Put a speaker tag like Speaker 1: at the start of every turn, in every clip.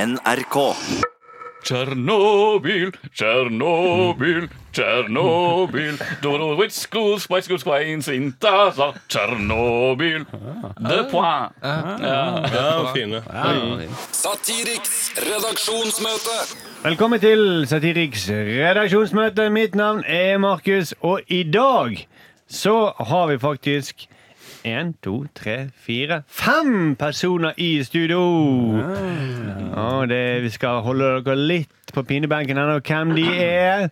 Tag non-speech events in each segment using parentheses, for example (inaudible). Speaker 1: NRK.
Speaker 2: Tsjernobyl, Tsjernobyl, Tsjernobyl. Dorowitz, Goose, Spice, Goose, Queens, Intasa, Tsjernobyl. De point.
Speaker 3: Ja, fine.
Speaker 4: Satiriks redaksjonsmøte.
Speaker 5: Velkommen til Satiriks redaksjonsmøte. Mitt navn er Markus, og i dag så har vi faktisk en, to, tre, fire, fem personer i studio. Og det, vi skal holde dere litt på pinebenken her nå, hvem de er.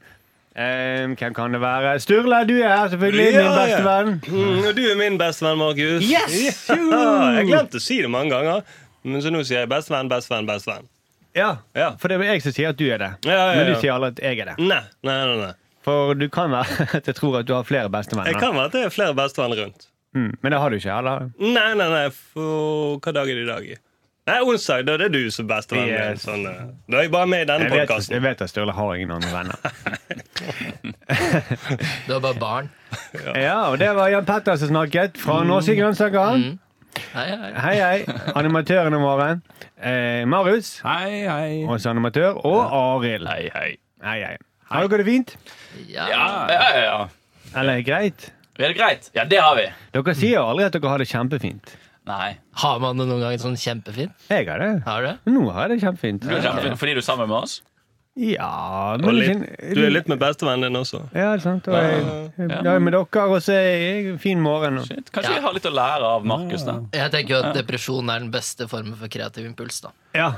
Speaker 5: Ehm, hvem kan det være? Sturle, du er her selvfølgelig,
Speaker 3: Ja,
Speaker 5: min beste
Speaker 3: ja.
Speaker 5: venn.
Speaker 3: Mm, og du er min bestevenn, Markus.
Speaker 5: Yes!
Speaker 3: Ja, (laughs) jeg glemte å si det mange ganger, men så nå sier jeg bestevenn, bestevenn, bestevenn.
Speaker 5: Ja,
Speaker 3: Ja.
Speaker 5: for det er jeg som sier at du er det.
Speaker 3: Ja, ja,
Speaker 5: Men du
Speaker 3: ja.
Speaker 5: sier aldri at jeg er det.
Speaker 3: Nei, nei, nei. nei.
Speaker 5: For du kan være (laughs) at jeg tror at du har flere bestevenner.
Speaker 3: Jeg kan være at det er flere bestevenner rundt.
Speaker 5: Mm, men det har du ikke, eller?
Speaker 3: Nei, nei, nei, for hva dag er det i dag? i? Nei, onsdag. Da er det du som er bestevenn. min,
Speaker 5: Yes.
Speaker 3: Sånn, eh, da er jeg bare med i denne
Speaker 5: Jeg vet, jeg
Speaker 3: podkasten.
Speaker 5: vet at Sturle har ingen andre venner.
Speaker 6: (laughs) Du er bare barn. Mm.
Speaker 5: Ja, og det var Jan Petter som snakket, fra Norske grønnsaker.
Speaker 6: Hei, hei.
Speaker 5: Hei, hei. Animatørene våre. Eh, Marius,
Speaker 7: Hei, hei.
Speaker 5: også animatør, og Arild.
Speaker 2: Hei, hei.
Speaker 5: Hei, hei. Har dere det fint?
Speaker 6: Ja.
Speaker 2: Ja, ja, ja, ja.
Speaker 5: Eller greit?
Speaker 2: Er det greit? Ja, det har vi.
Speaker 5: Dere sier jo aldri at dere har det kjempefint.
Speaker 2: Nei.
Speaker 6: Har man det noen gang sånn kjempefint?
Speaker 5: Jeg har det.
Speaker 6: Har du det?
Speaker 5: Nå har jeg det kjempefint.
Speaker 2: Du er kjempefin fordi du er sammen med oss?
Speaker 5: Ja,
Speaker 3: Og
Speaker 5: men
Speaker 3: litt,
Speaker 5: ikke-
Speaker 3: du er litt med bestevennen din også.
Speaker 5: Ja, det er sant. Og jeg, jeg er med dere, og så er jeg en fin morgen. og-
Speaker 2: Shit, Kanskje jeg har litt å lære av Markus, da.
Speaker 6: Jeg tenker jo at depresjon er den beste formen for kreativ impuls. da
Speaker 5: Ja.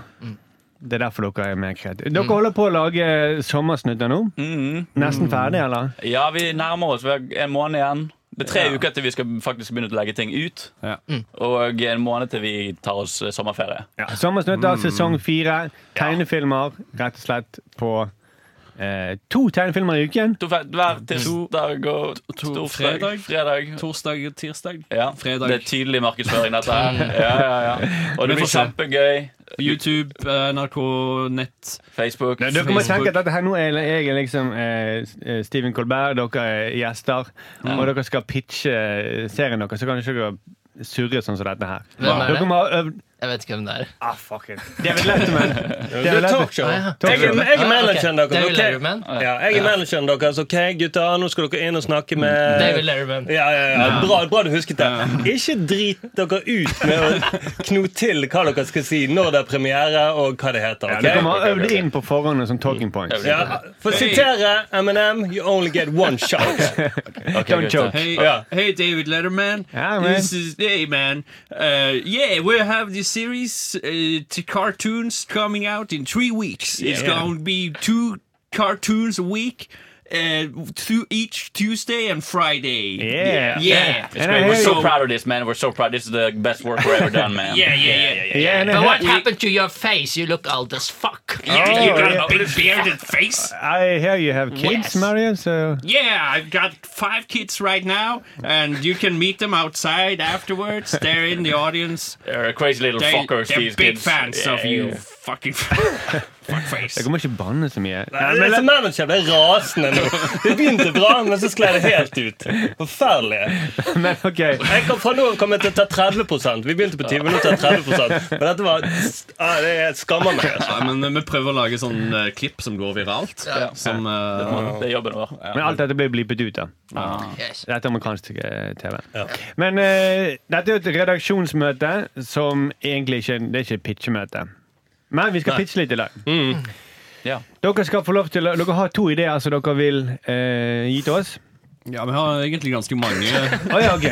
Speaker 5: Det er derfor dere er mer kreative. Dere holder på å lage sommersnutter nå. Nesten ferdig, eller?
Speaker 2: Ja, vi nærmer oss. Vi har en måned igjen. Det er tre uker til vi skal faktisk begynne å legge ting ut.
Speaker 7: Ja.
Speaker 2: Og en måned til vi tar oss eh, sommerferie.
Speaker 5: Ja. Sommersnutter, sesong fire. Tegnefilmer, rett og slett, på eh, to tegnefilmer i uken.
Speaker 2: To, fe- hver tirsdag og to, fredag.
Speaker 7: fredag.
Speaker 2: fredag.
Speaker 7: Torsdag, tirsdag.
Speaker 2: Ja.
Speaker 7: Fredag.
Speaker 2: Det er tydelig markedsføring, dette
Speaker 7: (laughs)
Speaker 2: her. Ja, ja, ja. Og det blir kjempegøy.
Speaker 7: YouTube, eh, NRK, nett.
Speaker 2: Facebook.
Speaker 5: Dere må tenke at dette her nå er jeg er liksom eh, Steven Colbert, dere er gjester, og dere skal pitche eh, serien deres, så kan dere ikke surre sånn som dette her.
Speaker 6: Hvem er
Speaker 5: Dere
Speaker 6: det?
Speaker 5: må ha øvd
Speaker 6: Jeg vet ikke hvem det er.
Speaker 5: Ah, fuck it. David Letterman.
Speaker 3: Det er talkshow.
Speaker 6: Ah, ja.
Speaker 3: Jeg er jeg er
Speaker 6: Ah, ok.
Speaker 3: manageren deres.
Speaker 6: David
Speaker 3: ok?
Speaker 6: Letterman.
Speaker 3: Ja, jeg er manageren deres. Ok, gutter, nå skal dere inn og snakke med
Speaker 6: David Lerman.
Speaker 3: Ja, ja, ja. Bra, bra du husket det. Ikke drit dere ut med å kno til hva dere skal si når det er premiere, og hva det heter. ok?
Speaker 5: Dere må ha øvd inn på forhånd som talking points.
Speaker 3: Ja, for å sitere Eminem, you only get one shot.
Speaker 2: Ok,
Speaker 5: Don't
Speaker 2: gutter.
Speaker 5: joke.
Speaker 7: Hey,
Speaker 3: Ja.
Speaker 7: hey, David Letterman.
Speaker 5: Ja, man.
Speaker 7: This is hey, man. Uh, yeah, we have the series, uh, t- cartoons coming out in three weeks. It's going to be two cartoons a week, uh, two each Tuesday and Friday.
Speaker 5: Yeah.
Speaker 7: yeah,
Speaker 2: It's
Speaker 5: And I
Speaker 2: great. We're
Speaker 5: hear
Speaker 2: so
Speaker 7: you.
Speaker 2: proud of this, man. We're so proud. This is the best work we've ever done, man.
Speaker 7: yeah, yeah, yeah. yeah, yeah.
Speaker 5: Yeah, and
Speaker 6: But what
Speaker 5: I,
Speaker 6: happened to your face? You look old as fuck.
Speaker 7: Yeah, you got
Speaker 5: yeah.
Speaker 7: a big bearded face.
Speaker 5: I hear you have kids,
Speaker 6: Yes.
Speaker 5: Mario, so
Speaker 7: Yeah, I've got five kids right now, and you can meet them outside afterwards. They're in the audience.
Speaker 2: They're crazy little
Speaker 7: They, are
Speaker 2: fuckers,
Speaker 7: big
Speaker 2: these kids.
Speaker 7: fans
Speaker 2: Yeah,
Speaker 7: of you,
Speaker 2: yeah.
Speaker 7: fucking (laughs) fuckface.
Speaker 5: dere må ikke banne så mye.
Speaker 3: Nei, men dette manager det er liksom rasende nå. Det begynte bra, men så skled det helt ut. Forferdelig.
Speaker 5: (laughs) Men ok
Speaker 3: Jeg kan fra nå av komme til å ta 30 Vi begynte på 20 minutter, 30 Men dette var ah, Det er- skammer meg. altså.
Speaker 7: Ja, men vi prøver å lage sånn eh, klipp som går viralt.
Speaker 6: Ja.
Speaker 7: Som, eh,
Speaker 2: Det er jobben vår.
Speaker 5: Men alt dette blir blippet ut, da.
Speaker 6: Yes. sånn
Speaker 5: Dette er amerikansk eh, TV. Men eh, dette er jo et redaksjonsmøte som egentlig ikke Det er ikke et pitchemøte. Men vi skal pitche litt i dag.
Speaker 2: Ja.
Speaker 5: Dere skal få lov til å- Dere har to ideer som dere vil eh, gi til oss.
Speaker 7: ja, vi har egentlig ganske mange.
Speaker 5: Å ja, OK.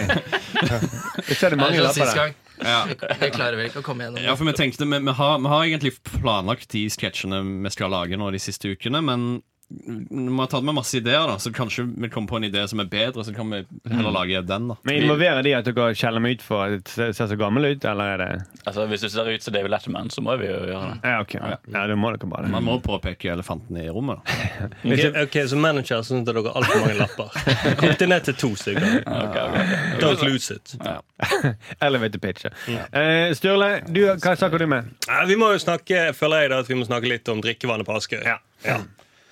Speaker 5: Jeg ser det
Speaker 6: Det er
Speaker 5: mange
Speaker 6: sånn
Speaker 5: lapper
Speaker 6: sist
Speaker 5: der.
Speaker 6: gang.
Speaker 7: Ja.
Speaker 6: Vi klarer vel ikke å komme
Speaker 7: Ja,
Speaker 6: gjennom.
Speaker 7: for vi tenkte vi, vi, har, vi har egentlig planlagt de sketsjene vi skal lage nå de siste ukene, men vi har tatt med masse ideer, da så kanskje vi kommer på en idé som er bedre, så kan vi heller lage den, da.
Speaker 5: Men Involverer de at dere skjeller meg ut for at jeg ser så gammel ut, eller er det
Speaker 2: Altså, hvis du ser ut som David Letterman, så må vi jo gjøre det.
Speaker 5: Ja, OK. Ja, da må dere bare det.
Speaker 7: Man må påpeke elefantene i rommet, da.
Speaker 3: Ok, ok, Så manager syns dere har altfor mange lapper. Kom til ned til to stykker.
Speaker 2: Ok, ok, ok.
Speaker 3: Don't lose it.
Speaker 5: Elevator pitcher. Eh, Sturle, du, hva snakker du med?
Speaker 3: Nei, vi må jo snakke, føler jeg da, at vi må snakke litt om drikkevannet på Askøy. Ja.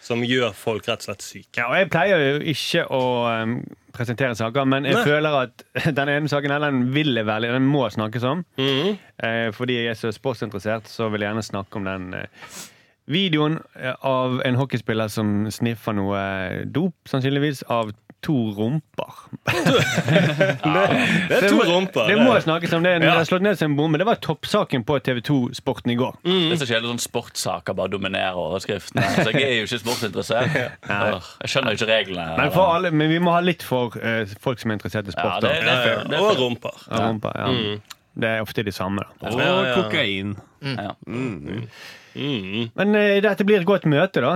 Speaker 3: som gjør folk rett og slett syke.
Speaker 5: Ja, og jeg pleier jo ikke å um, presentere saker, men jeg
Speaker 3: Nei.
Speaker 5: føler at (laughs) den ene saken her, den vil jeg veldig, den må snakkes om. eh, fordi jeg er så sportsinteressert, så vil jeg gjerne snakke om den eh, videoen eh, av en hockeyspiller som sniffer noe dop, sannsynligvis, av to rumper.
Speaker 3: Det er
Speaker 5: Så jeg
Speaker 3: to
Speaker 5: må-
Speaker 3: rumper.
Speaker 5: Det må snakkes om det. Det
Speaker 3: Ja.
Speaker 5: har slått ned som en bombe. Det var toppsaken på TV2 Sporten i går.
Speaker 2: Det som skjer, er sånn sportssaker bare dominerer overskriftene. Så jeg er jo ikke sportsinteressert. Jeg skjønner ikke reglene.
Speaker 5: Men, for alle, men vi må ha litt for eh, folk som er interessert i
Speaker 2: Ja,
Speaker 5: sport.
Speaker 2: det,
Speaker 5: da.
Speaker 2: det er fair. Det er
Speaker 3: Og
Speaker 2: fair.
Speaker 3: rumper.
Speaker 5: Ja, rumper, ja. Det er ofte de samme. da.
Speaker 8: Og
Speaker 3: Ja, ja.
Speaker 8: kokain.
Speaker 2: Ja.
Speaker 5: Men eh, dette blir et godt møte, da.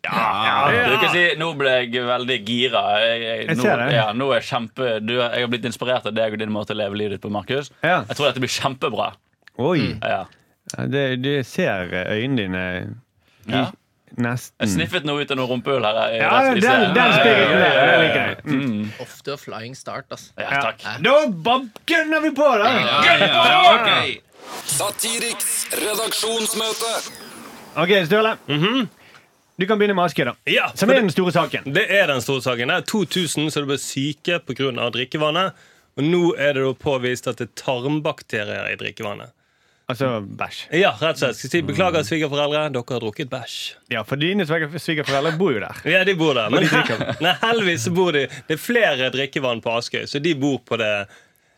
Speaker 2: Du kan si, nå ble jeg veldig gira. Jeg,
Speaker 5: Jeg
Speaker 2: nå,
Speaker 5: ser det.
Speaker 2: Ja, nå er jeg, kjempe, du, jeg har blitt inspirert av deg og din måte å leve livet ditt på, Markus.
Speaker 5: Ja.
Speaker 2: Jeg tror dette blir kjempebra.
Speaker 5: Oi.
Speaker 2: Ja.
Speaker 5: Ja, Det, det ser eh, øynene dine i
Speaker 2: Ja. Jeg
Speaker 5: nesten
Speaker 2: sniffet noe ut av noe rumpehull her. eh, i-
Speaker 5: Mm. Ja,
Speaker 2: i- i-
Speaker 5: den, den spiriten der. Det liker jeg. Mm.
Speaker 6: Off to a flying start, altså.
Speaker 2: Ja, takk.
Speaker 5: Da bab- gønner vi på, da!
Speaker 8: Ja, ja, ja, ok.
Speaker 4: Satiriks redaksjonsmøte.
Speaker 5: Ok, Sturle. Du kan begynne med Askøy, da.
Speaker 3: Ja,
Speaker 5: Som
Speaker 3: for
Speaker 5: er
Speaker 3: det-
Speaker 5: den store saken.
Speaker 3: Det er den store saken. Det er 2000 som ble syke pga. drikkevannet. Og nå er det da påvist at det er tarmbakterier i drikkevannet.
Speaker 5: Altså bæsj.
Speaker 3: Ja, rett og slett. Skal si Beklager, svigerforeldre. Dere har drukket bæsj.
Speaker 5: Ja, for dine sviger- svigerforeldre bor jo der.
Speaker 3: Ja, de bor der. Men
Speaker 5: de
Speaker 3: (laughs)
Speaker 5: drikker.
Speaker 3: nei, heldigvis så bor de Det er flere drikkevann på Askøy, så de bor på det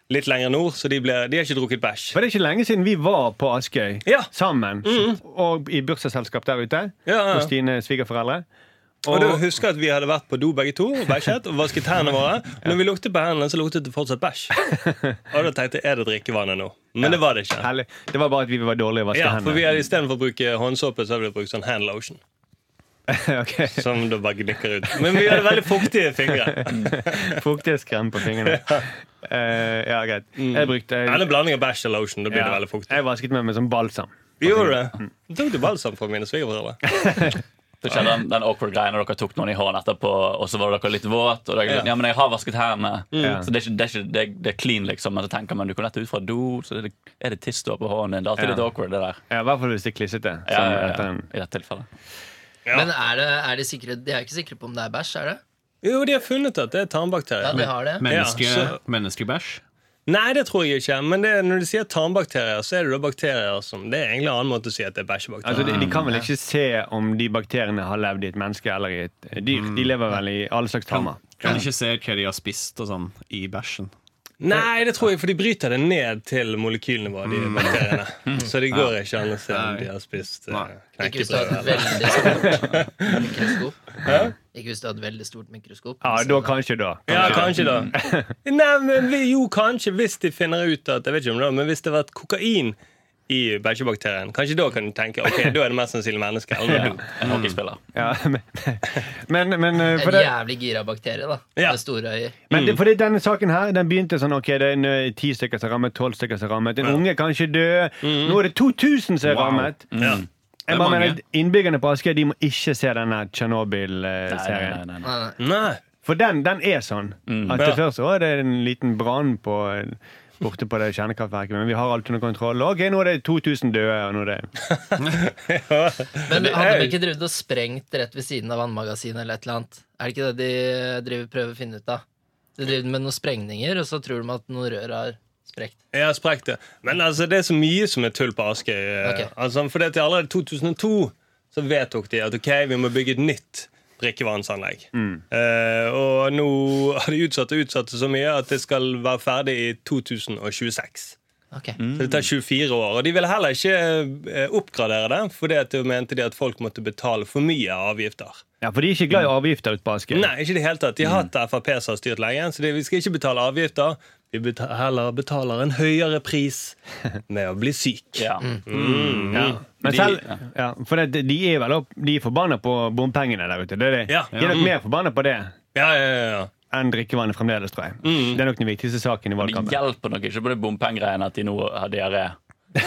Speaker 3: litt lenger nord. Så de, ble, de har ikke drukket bæsj.
Speaker 5: For det er ikke lenge siden vi var på Askøy
Speaker 3: Ja. Mhm.
Speaker 5: sammen. Og i bursdagsselskap der ute
Speaker 3: Ja, ja.
Speaker 5: hos dine svigerforeldre.
Speaker 3: Og du husker at vi hadde vært på do begge to og bæsjet og vasket hendene
Speaker 5: (laughs)
Speaker 3: våre. Når vi luktet på hendene, så luktet det fortsatt bæsj. Og da tenkte jeg er det drikkevannet nå? Men det var det ikke.
Speaker 5: Herlig. Det var bare at vi var dårlige å vaske
Speaker 3: Ja, for vi
Speaker 5: hendene.
Speaker 3: hadde Istedenfor å bruke håndsåpe så hadde vi brukt sånn hand
Speaker 5: (laughs)
Speaker 3: lotion.
Speaker 5: Ok.
Speaker 3: Som da bare glikker ut. Men vi hadde veldig fuktige fingre.
Speaker 5: Fuktighetskrem på
Speaker 3: (laughs)
Speaker 5: fingrene. Eh, ja, greit.
Speaker 3: Mm.
Speaker 5: Jeg brukte
Speaker 3: Eller blanding av bæsj og lotion. Da blir det
Speaker 5: ja, Mm.
Speaker 3: veldig fuktig.
Speaker 5: Jeg vasket meg med sånn balsam.
Speaker 3: Gjorde det? Tok du balsam fra mine svigerforeldre?
Speaker 2: Så kjenner jeg den, den awkward greia når dere tok noen i hånden etterpå, og så var dere litt våt, og dere, liksom,
Speaker 3: Ja.
Speaker 2: ja. men jeg har vasket hendene.
Speaker 5: Ja.
Speaker 2: Så det er, ikke, det, er ikke, det, er, det er clean, liksom. Men så tenker man du kom nettopp ut fra do, så er det, er det tiss du har på hånden din. Det er
Speaker 5: Ja.
Speaker 2: alltid litt awkward, det der.
Speaker 5: Ja, I hvert fall hvis det er klissete.
Speaker 2: Ja,
Speaker 5: som
Speaker 2: ja, ja,
Speaker 5: etter en-
Speaker 2: I dette tilfellet.
Speaker 3: Ja.
Speaker 6: Men er det, er de sikre De er ikke sikre på om det er bæsj, er det?
Speaker 3: Jo, de har funnet at det er tarmbakterier.
Speaker 6: Ja, de har det.
Speaker 3: Menneske- Ja, så-
Speaker 8: Menneskebæsj?
Speaker 3: Nei, det tror jeg ikke. Men det, når de sier tarmbakterier, så er det da bakterier som Det er egentlig en annen måte å si at det er bæsjebakterier.
Speaker 5: Altså, de, de
Speaker 3: Mm.
Speaker 5: kan vel ikke se om de bakteriene har levd i et menneske eller i et dyr.
Speaker 3: Mm.
Speaker 5: De lever vel i alle slags tarmer.
Speaker 8: Kan ikke se hva de har spist og sånn i bæsjen.
Speaker 3: Nei, det tror jeg, for de bryter det ned til molekylnivå, de
Speaker 5: Mm.
Speaker 3: bakteriene. Så de går ikke an å se om de har spist eh,
Speaker 8: Nei.
Speaker 6: Ikke hvis du har
Speaker 3: knekkebrød.
Speaker 6: et
Speaker 3: eller-
Speaker 6: veldig stort mikroskop. Ikke hvis du har et veldig stort mikroskop.
Speaker 5: Ja,
Speaker 6: Så
Speaker 5: da
Speaker 6: da-
Speaker 5: kanskje, da.
Speaker 3: Ja, kanskje da.
Speaker 5: (laughs)
Speaker 3: Nei, men vi, jo, kanskje hvis de finner ut at Jeg vet ikke om det, men hvis det har vært kokain i bæsjebakterien, kanskje da kan du tenke ok, da er det mest sannsynlig menneske.
Speaker 5: (laughs)
Speaker 3: Eller noe dop.
Speaker 2: En hockeyspiller.
Speaker 5: Ja, (laughs) men, men, men, eh, for
Speaker 6: En
Speaker 5: det,
Speaker 6: jævlig gira bakterie, da.
Speaker 3: Ja.
Speaker 6: Med store øyne.
Speaker 5: men det, fordi denne saken her Den begynte sånn ok, det er en, eh, ti stykker som er rammet, tolv stykker som er rammet. En unge kan ikke dø. Nå er det 2000 som er
Speaker 8: Wow.
Speaker 5: rammet.
Speaker 3: Ja.
Speaker 5: Jeg
Speaker 8: er
Speaker 5: bare
Speaker 8: mange.
Speaker 5: mener at Innbyggerne på Askøy de må ikke se denne
Speaker 2: Nei, nei, nei,
Speaker 5: Tsjernobyl-serien.
Speaker 2: nei, nei.
Speaker 6: Nei, nei.
Speaker 3: Nei.
Speaker 5: For den, den er sånn. At det
Speaker 3: Ja.
Speaker 5: først å, det er en liten brann på eh, Borte på det kjernekraftverket, men vi har alt under kontroll. Ok, nå er det 2000 døde. Og nå er det...
Speaker 6: Men hadde de ikke drevet og sprengt rett ved siden av vannmagasinet eller et eller annet? Er det ikke det de driver prøver å finne ut av? De driver med noen sprengninger, og så tror de at noen rør har sprekt.
Speaker 3: Jeg har sprekt det. Men altså, det er så mye som er tull på Askøy. eh,
Speaker 6: Ok.
Speaker 3: Altså, for det til allerede i 2002 så vedtok de at ok, vi må bygge et nytt drikkevannsanlegg. Eh, og nå har de utsatt og utsatt det så mye at det skal være ferdig i 2026.
Speaker 6: Ok.
Speaker 3: Så det tar 24 år. Og de ville heller ikke eh, oppgradere det, for det mente de at folk måtte betale for mye avgifter.
Speaker 5: Ja, For de er ikke glad i avgifter ute på Askøy.
Speaker 3: Nei, ikke i det hele tatt. De har hatt Frp som har styrt lenge, så det, vi skal ikke betale avgifter. Vi beta- heller betaler en høyere pris med å bli syk.
Speaker 2: Ja.
Speaker 5: Mm. Men
Speaker 2: De-
Speaker 5: selv,
Speaker 2: ja.
Speaker 5: ja, for det, de er vel opp, de er forbanna på bompengene der ute. Det er det.
Speaker 3: Ja.
Speaker 5: De
Speaker 2: Mm.
Speaker 5: er nok mer forbanna på det
Speaker 3: Ja, ja, ja, ja.
Speaker 5: enn drikkevannet
Speaker 2: Mm.
Speaker 5: fremdeles, tror jeg. Det er nok den viktigste saken i
Speaker 2: Det
Speaker 5: valgkampen.
Speaker 2: hjelper nok ikke på det bompengegreiene at de nå har diaré. Det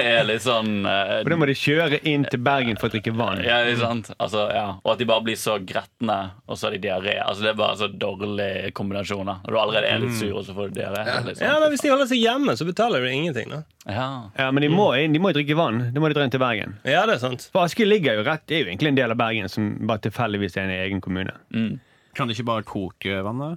Speaker 2: er litt sånn eh,
Speaker 5: Og da må de kjøre inn til Bergen for å drikke vann.
Speaker 2: ja, ikke sant? Altså, ja. Og at de bare blir så gretne, og så har de diaré. Altså, det er bare så dårlig kombinasjon. da. Når du allerede er litt sur, og så får du diaré. liksom.
Speaker 3: Ja, men Hvis de holder seg hjemme, så betaler du ingenting. da.
Speaker 2: ja.
Speaker 5: Ja, Men de
Speaker 2: Mm.
Speaker 5: må inn, de må jo drikke vann. Da må de dra inn til Bergen.
Speaker 3: Ja, det er sant.
Speaker 5: For Aske ligger jo rett, det er jo egentlig en del av Bergen som bare tilfeldigvis er en egen kommune.
Speaker 8: Kan du ikke bare koke vann, da?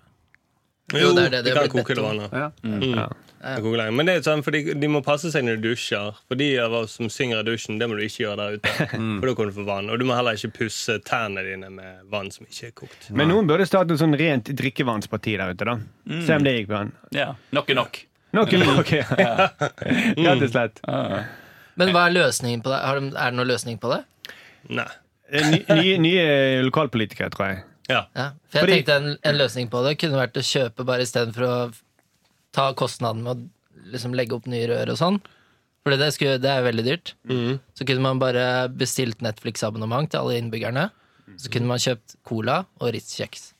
Speaker 6: Jo, det er det
Speaker 3: de
Speaker 6: det
Speaker 3: kan
Speaker 6: har blitt
Speaker 3: koke
Speaker 6: bedt
Speaker 3: det
Speaker 6: om.
Speaker 3: vannet.
Speaker 8: Ja.
Speaker 5: Ja.
Speaker 3: Jeg koker lenge. Men det er sånn, for de, de må passe seg når de dusjer. For de av oss som synger i dusjen, det må du ikke gjøre der ute. (laughs) For da kan du få vann. Og du må heller ikke pusse tærne dine med vann som ikke er kokt.
Speaker 5: Men noen burde starte et sånn rent drikkevannsparti der ute, da.
Speaker 2: Mm.
Speaker 5: Se om det gikk bra.
Speaker 2: ja. Nok er nok.
Speaker 5: Nok
Speaker 2: (laughs)
Speaker 5: er nok. (laughs) Rett og slett.
Speaker 6: Men hva er løsningen på det? Har de, er det noen løsning på det?
Speaker 3: Nei.
Speaker 5: Eh, Ny- Nye, nye lokalpolitikere, tror jeg.
Speaker 3: Ja.
Speaker 6: Ja. For
Speaker 5: Fordi-
Speaker 6: jeg tenkte en, en løsning på det kunne vært å kjøpe bare istedenfor å ta kostnaden med å liksom legge opp nye rør og sånn. For det, skulle, det er veldig dyrt. Så kunne man bare bestilt Netflix-abonnement til alle innbyggerne. Så kunne man kjøpt cola og Ritz-kjeks.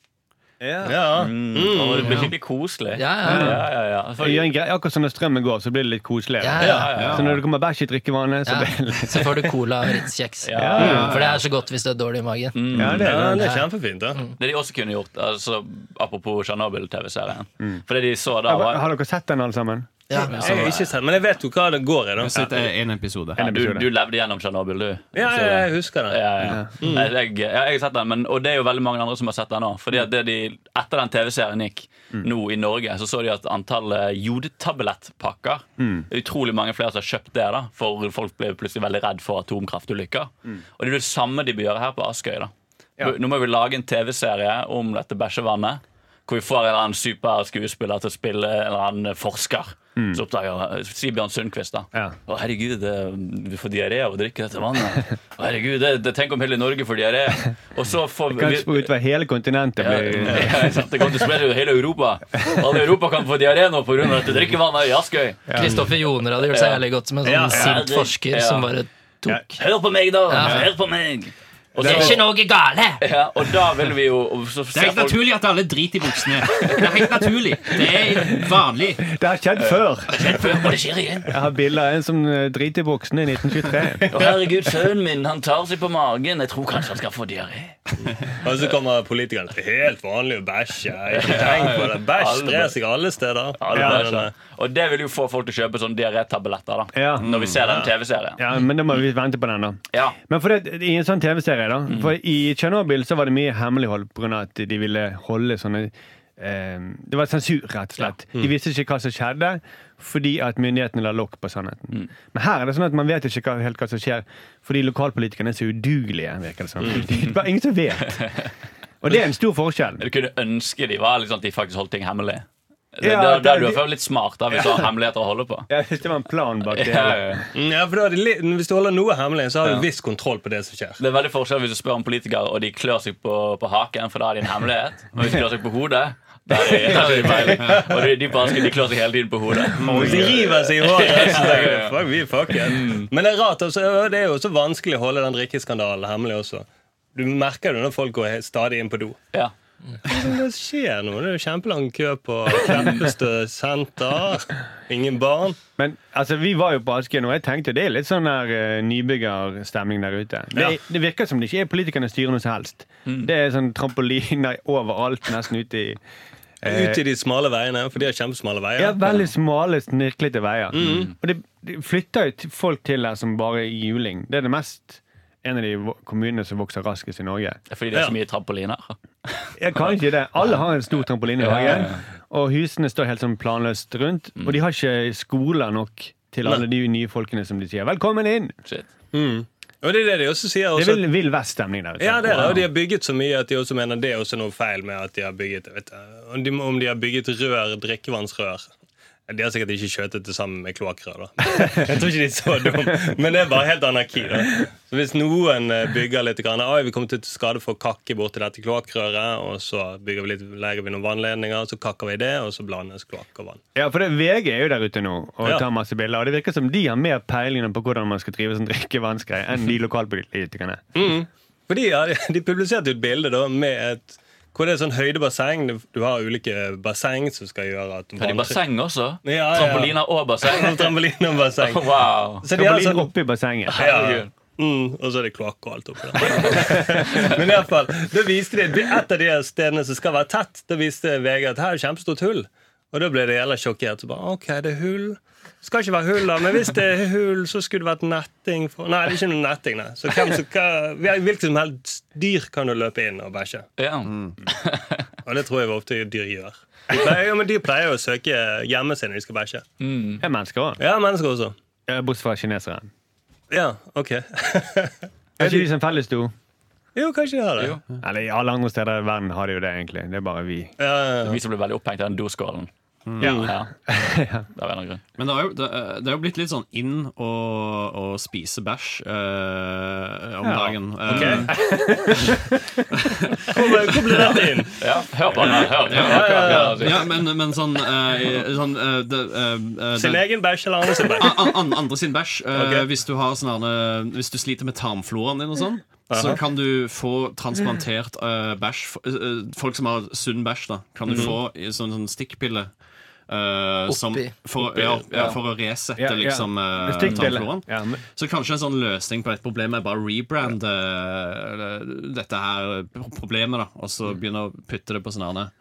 Speaker 3: Ja.
Speaker 2: Og det blir skikkelig koselig.
Speaker 6: Ja, ja, ja.
Speaker 2: ja, ja, ja. For,
Speaker 5: Gjør en grei- Akkurat som når strømmen går, så blir det litt
Speaker 6: ja,
Speaker 5: koseligere.
Speaker 6: ja,
Speaker 5: Så når det kommer bæsj i drikkevannet, så
Speaker 6: ja.
Speaker 5: blir det litt
Speaker 6: Så får du cola og Ritz-kjeks.
Speaker 2: ja. Mm.
Speaker 6: For det er så godt hvis du er dårlig i magen.
Speaker 5: Ja, det
Speaker 3: Ja,
Speaker 5: er det.
Speaker 3: det er kjempefint. da.
Speaker 6: Mm.
Speaker 2: Det de også kunne gjort, altså, apropos Tsjernobyl-TV-serien For det de så da, var
Speaker 5: Har dere sett den, alle sammen?
Speaker 6: Ja.
Speaker 3: Jeg har ikke sett, men jeg vet jo hva det går i. da.
Speaker 8: Jeg har sett eh, en episode.
Speaker 2: ja, du, du levde gjennom Tsjernobyl, du.
Speaker 3: Ja,
Speaker 2: Så-
Speaker 3: ja, jeg husker det.
Speaker 2: Ja, ja. Nei, Jeg, ja, jeg har sett den, men, og det er jo veldig mange andre som har sett den òg. Fordi at det de, etter den TV-serien gikk nå i Norge, så så de at antallet eh, jodtablettpakker det er Utrolig mange flere som har kjøpt det, da for folk ble plutselig veldig redd for atomkraftulykker. Og det er det samme de bør gjøre her på Askøy. da Nå må vi lage en TV-serie om dette bæsjevannet. Hvor vi får en eller annen super skuespiller til å spille en eller annen forsker. Som oppdager Sibjørn Sundquist. da
Speaker 5: Ja.
Speaker 2: å, herregud, det- du får diaré av å drikke dette vannet. Å, herregud, det, det, Tenk om hele Norge får diaré. Og så får
Speaker 5: Kan sprute over hele kontinentet.
Speaker 2: ja,
Speaker 5: blir-
Speaker 2: ja, ikke sant? det kommer til å spre over hele Europa. Alle i Europa kan få diaré nå pga. dette drikkevannet i Askøy.
Speaker 6: Kristoffer Joner hadde gjort seg
Speaker 2: Ja.
Speaker 6: jævlig godt som en sånn
Speaker 2: Ja, ja,
Speaker 6: sint
Speaker 2: det-
Speaker 6: forsker
Speaker 2: ja.
Speaker 6: som bare tok
Speaker 2: Hør på meg, da!
Speaker 6: Ja.
Speaker 2: Hør på meg! Og,
Speaker 6: Det er
Speaker 2: så,
Speaker 6: ikke noe gale!
Speaker 2: ja, og da vil vi jo og så,
Speaker 8: Det er helt naturlig at alle driter i buksene. Det er helt naturlig. Det er vanlig.
Speaker 5: (laughs) Det har skjedd før.
Speaker 2: Og det skjer igjen.
Speaker 5: Jeg har bilder av en som eh, driter i buksene i (laughs) 1923.
Speaker 2: Å, herregud, sønnen min han tar seg på magen. Jeg tror kanskje han skal få diaré.
Speaker 3: Og så kommer politikerne til helt vanlig å bæsje. Ikke tenk på det. Bæsj sprer seg alle steder.
Speaker 2: Ja, det er
Speaker 3: Ja,
Speaker 2: sånn. Og det vil jo få folk til å kjøpe sånne diarétabletter da,
Speaker 5: Ja.
Speaker 2: når vi ser den TV-serien.
Speaker 5: Ja, men da må vi vente på den, da.
Speaker 2: Ja.
Speaker 5: Men for det, I en sånn TV-serie, da. For i Tsjernobyl så var det mye hemmelighold pga. at de ville holde sånne eh, Det var sensur, rett og slett. De visste ikke hva som skjedde, fordi at myndighetene la lokk på sannheten. Men her er det sånn at man vet ikke hva, helt hva som skjer, fordi lokalpolitikerne er så udugelige, virker det som. Det er bare ingen som (laughs) vet. Og det er en stor forskjell.
Speaker 2: Du kunne ønske de var liksom, at de faktisk holdt ting hemmelig. Det,
Speaker 5: Ja,
Speaker 2: da, da
Speaker 5: det-
Speaker 2: er du i hvert fall litt smart da, hvis du har hemmeligheter å holde på.
Speaker 5: Ja, Hvis det var en plan bak (laughs) det.
Speaker 2: Ja, ja, ja.
Speaker 3: Mm, Ja, for da er det litt, Hvis du holder noe hemmelig, så har du viss kontroll på det som skjer.
Speaker 2: Det er veldig forskjell hvis du spør om politikere og de klør seg på, på haken, for da er det en hemmelighet. Men hvis de klør seg på hodet da er det- da er
Speaker 5: (laughs)
Speaker 2: det peiling. Og de, de, bare, de klør seg hele tiden på hodet.
Speaker 5: Mm.
Speaker 3: Hvis de river seg i håret, så tenker du fuck, vi er fucket. Men det er rart, altså, og det er jo så vanskelig å holde den drikkeskandalen hemmelig også. Du merker det når folk går he- stadig inn på do.
Speaker 2: Ja.
Speaker 3: Det skjer noe. Det er jo kjempelang kø på Kleppestø senter. Ingen barn.
Speaker 5: Men altså, vi var jo på Askøyen, og jeg tenkte det er litt sånn der eh, nybyggerstemning der ute. Det,
Speaker 3: Ja.
Speaker 5: det virker som det ikke er politikerne styrer noe som helst. Det er sånn trampoliner overalt, nesten ute i
Speaker 3: Ut i de smale veiene, for de har kjempesmale veier.
Speaker 5: ja, Veldig smale, snirklete veier. Mm. Og det, det flytter jo t- folk til der som bare juling. Det er det mest en av de vo- kommunene som vokser raskest i Norge.
Speaker 2: Fordi det er så mye trampoliner.
Speaker 5: Ja, kanskje det. Alle har en stor trampoline i hagen. Og husene står helt sånn planløst rundt. Og de har ikke skoler nok til alle de nye folkene som de sier 'velkommen inn'.
Speaker 2: Shit.
Speaker 3: Og det er det de også sier.
Speaker 5: Det
Speaker 3: Også,
Speaker 5: er vill, vill vest-stemning der ute.
Speaker 3: Ja, det er det. Og de har bygget så mye at de også mener det er også noe feil med at de har bygget jeg vet, ikke, om de- Om de har bygget rør, drikkevannsrør. Ja, De har sikkert ikke skjøtet det sammen med kloakkrør.
Speaker 2: (laughs)
Speaker 3: da. Jeg tror ikke de er så dumme. Men det er bare helt anarki. da. Så Hvis noen eh, bygger litt grann, Oi, vi kommer til å skade for kakke borti dette kloakkrøret, og så bygger vi litt, legger vi noen vannledninger, så kakker vi det, og så blandes kloakk og vann.
Speaker 5: Ja, for det, VG er jo der ute nå og
Speaker 3: Ja.
Speaker 5: tar masse bilder. Og det virker som de har mer peiling på hvordan man skal drive sånn
Speaker 3: Mm.
Speaker 5: drikkevannsgreie enn de lokalpolitikerne.
Speaker 3: For de, har- de publiserte jo et bilde da, med et Hvor det er sånn høydebasseng. Du- Du har ulike basseng som skal gjøre at
Speaker 2: Har de basseng også?
Speaker 3: Ja, ja.
Speaker 2: Trampoliner og
Speaker 3: (laughs)
Speaker 2: basseng?
Speaker 3: Trampoline og basseng.
Speaker 2: Wow.
Speaker 3: Så de har
Speaker 5: Trampolin
Speaker 3: sånn
Speaker 5: oppi bassenget.
Speaker 3: Ja. Mm, og så er det kloakk og alt oppi der. (laughs) Men i alle fall, da viste de det er et av de her stedene som skal være tett, da viste VG at her er kjempestort hull. Og da ble det jævla sjokkert. Så bare, ok, det er hull. Det skal ikke være hull, da. Men hvis det er hull, så skulle det vært netting. For... Nei, det er ikke noe netting, nei. Så hvem som, hva, hvilket som helst dyr kan du løpe inn og bæsje.
Speaker 2: Ja.
Speaker 5: Mm.
Speaker 3: Og det tror jeg ofte dyr gjør. Nei, ja, men De pleier jo å søke hjemme seg når de skal bæsje.
Speaker 5: Det er mennesker òg.
Speaker 3: Ja, mennesker også.
Speaker 5: Bortsett fra kinesere.
Speaker 3: Ja, ok.
Speaker 5: Er ikke de som fellesdo?
Speaker 3: Jo, kanskje de har det.
Speaker 2: Jo.
Speaker 5: Eller ja, alle andre steder i verden har de jo det, egentlig. Det er bare vi.
Speaker 3: Ja, ja, ja.
Speaker 2: Vi som ble veldig opphengt i den doskålen.
Speaker 5: Mm. (laughs) Ja.
Speaker 2: Ja. Det var en grunn.
Speaker 7: Men det har jo, det, er- det er jo blitt litt sånn inn å, å spise bæsj eh, om dagen. Eh,
Speaker 3: Hvor hvor ble dette inn?
Speaker 2: Ja, hør på den her. Hør, hør, hør, hør, hør.
Speaker 7: ja, men, men sånn, eh, sånn eh, det, eh, eh,
Speaker 3: Sin
Speaker 7: det-
Speaker 3: egen bæsj eller andre sin bæsj?
Speaker 7: an, an- Ah, an, andre sin bæsj. eh,
Speaker 3: Ok.
Speaker 7: hvis, du har sånn her, eh, hvis du sliter med tarmfloraen din og sånn, så
Speaker 3: Aha.
Speaker 7: kan du få transplantert eh, bæsj. f- eh, eh, folk som har sunn bæsj, da, kan
Speaker 5: Mhm.
Speaker 7: du få i sånn, sånn stikkpille. eh, som,
Speaker 6: Oppi.
Speaker 7: for, ja, ja,
Speaker 2: ja.
Speaker 7: for å resette
Speaker 5: Ja, ja.
Speaker 7: liksom eh,
Speaker 5: Stikkpille.
Speaker 7: tarmfloraen.
Speaker 5: Ja, men-
Speaker 7: Så kanskje en sånn løsning på et problem er bare å rebrande eh, dette her problemet, da, og så
Speaker 5: Mm.
Speaker 7: begynne å putte det på sånne herne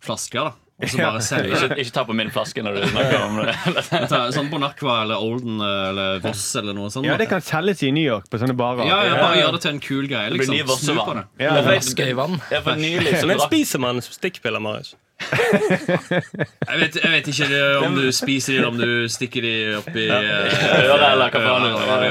Speaker 7: flasker, da. Og så bare
Speaker 5: (laughs)
Speaker 7: selge det.
Speaker 2: Ikke, ikke ta på min flaske når du snakker om det.
Speaker 7: Ta Sånn Bon Aqua eller Olden eh, eller Voss eller noe sånt.
Speaker 5: ja,
Speaker 7: da.
Speaker 5: det kan selges i New York på sånne barer.
Speaker 7: ja, ja, bare gjør det til en kul greie,
Speaker 2: blir
Speaker 7: liksom.
Speaker 2: nye
Speaker 7: Snu på
Speaker 2: Vossevann.
Speaker 7: det.
Speaker 5: Ja,
Speaker 2: Men
Speaker 5: ja.
Speaker 2: for-
Speaker 6: Skøyvann.
Speaker 2: Ja, for nylig (laughs) så
Speaker 3: Men
Speaker 2: drakk
Speaker 3: spiser man stikkpiller, Marius?
Speaker 7: Jeg vet, jeg
Speaker 2: (laughs)
Speaker 7: vet ikke det, om du spiser det, eller om du stikker det oppi eh,
Speaker 2: Øret eller hva faen det
Speaker 7: Ja,
Speaker 2: var.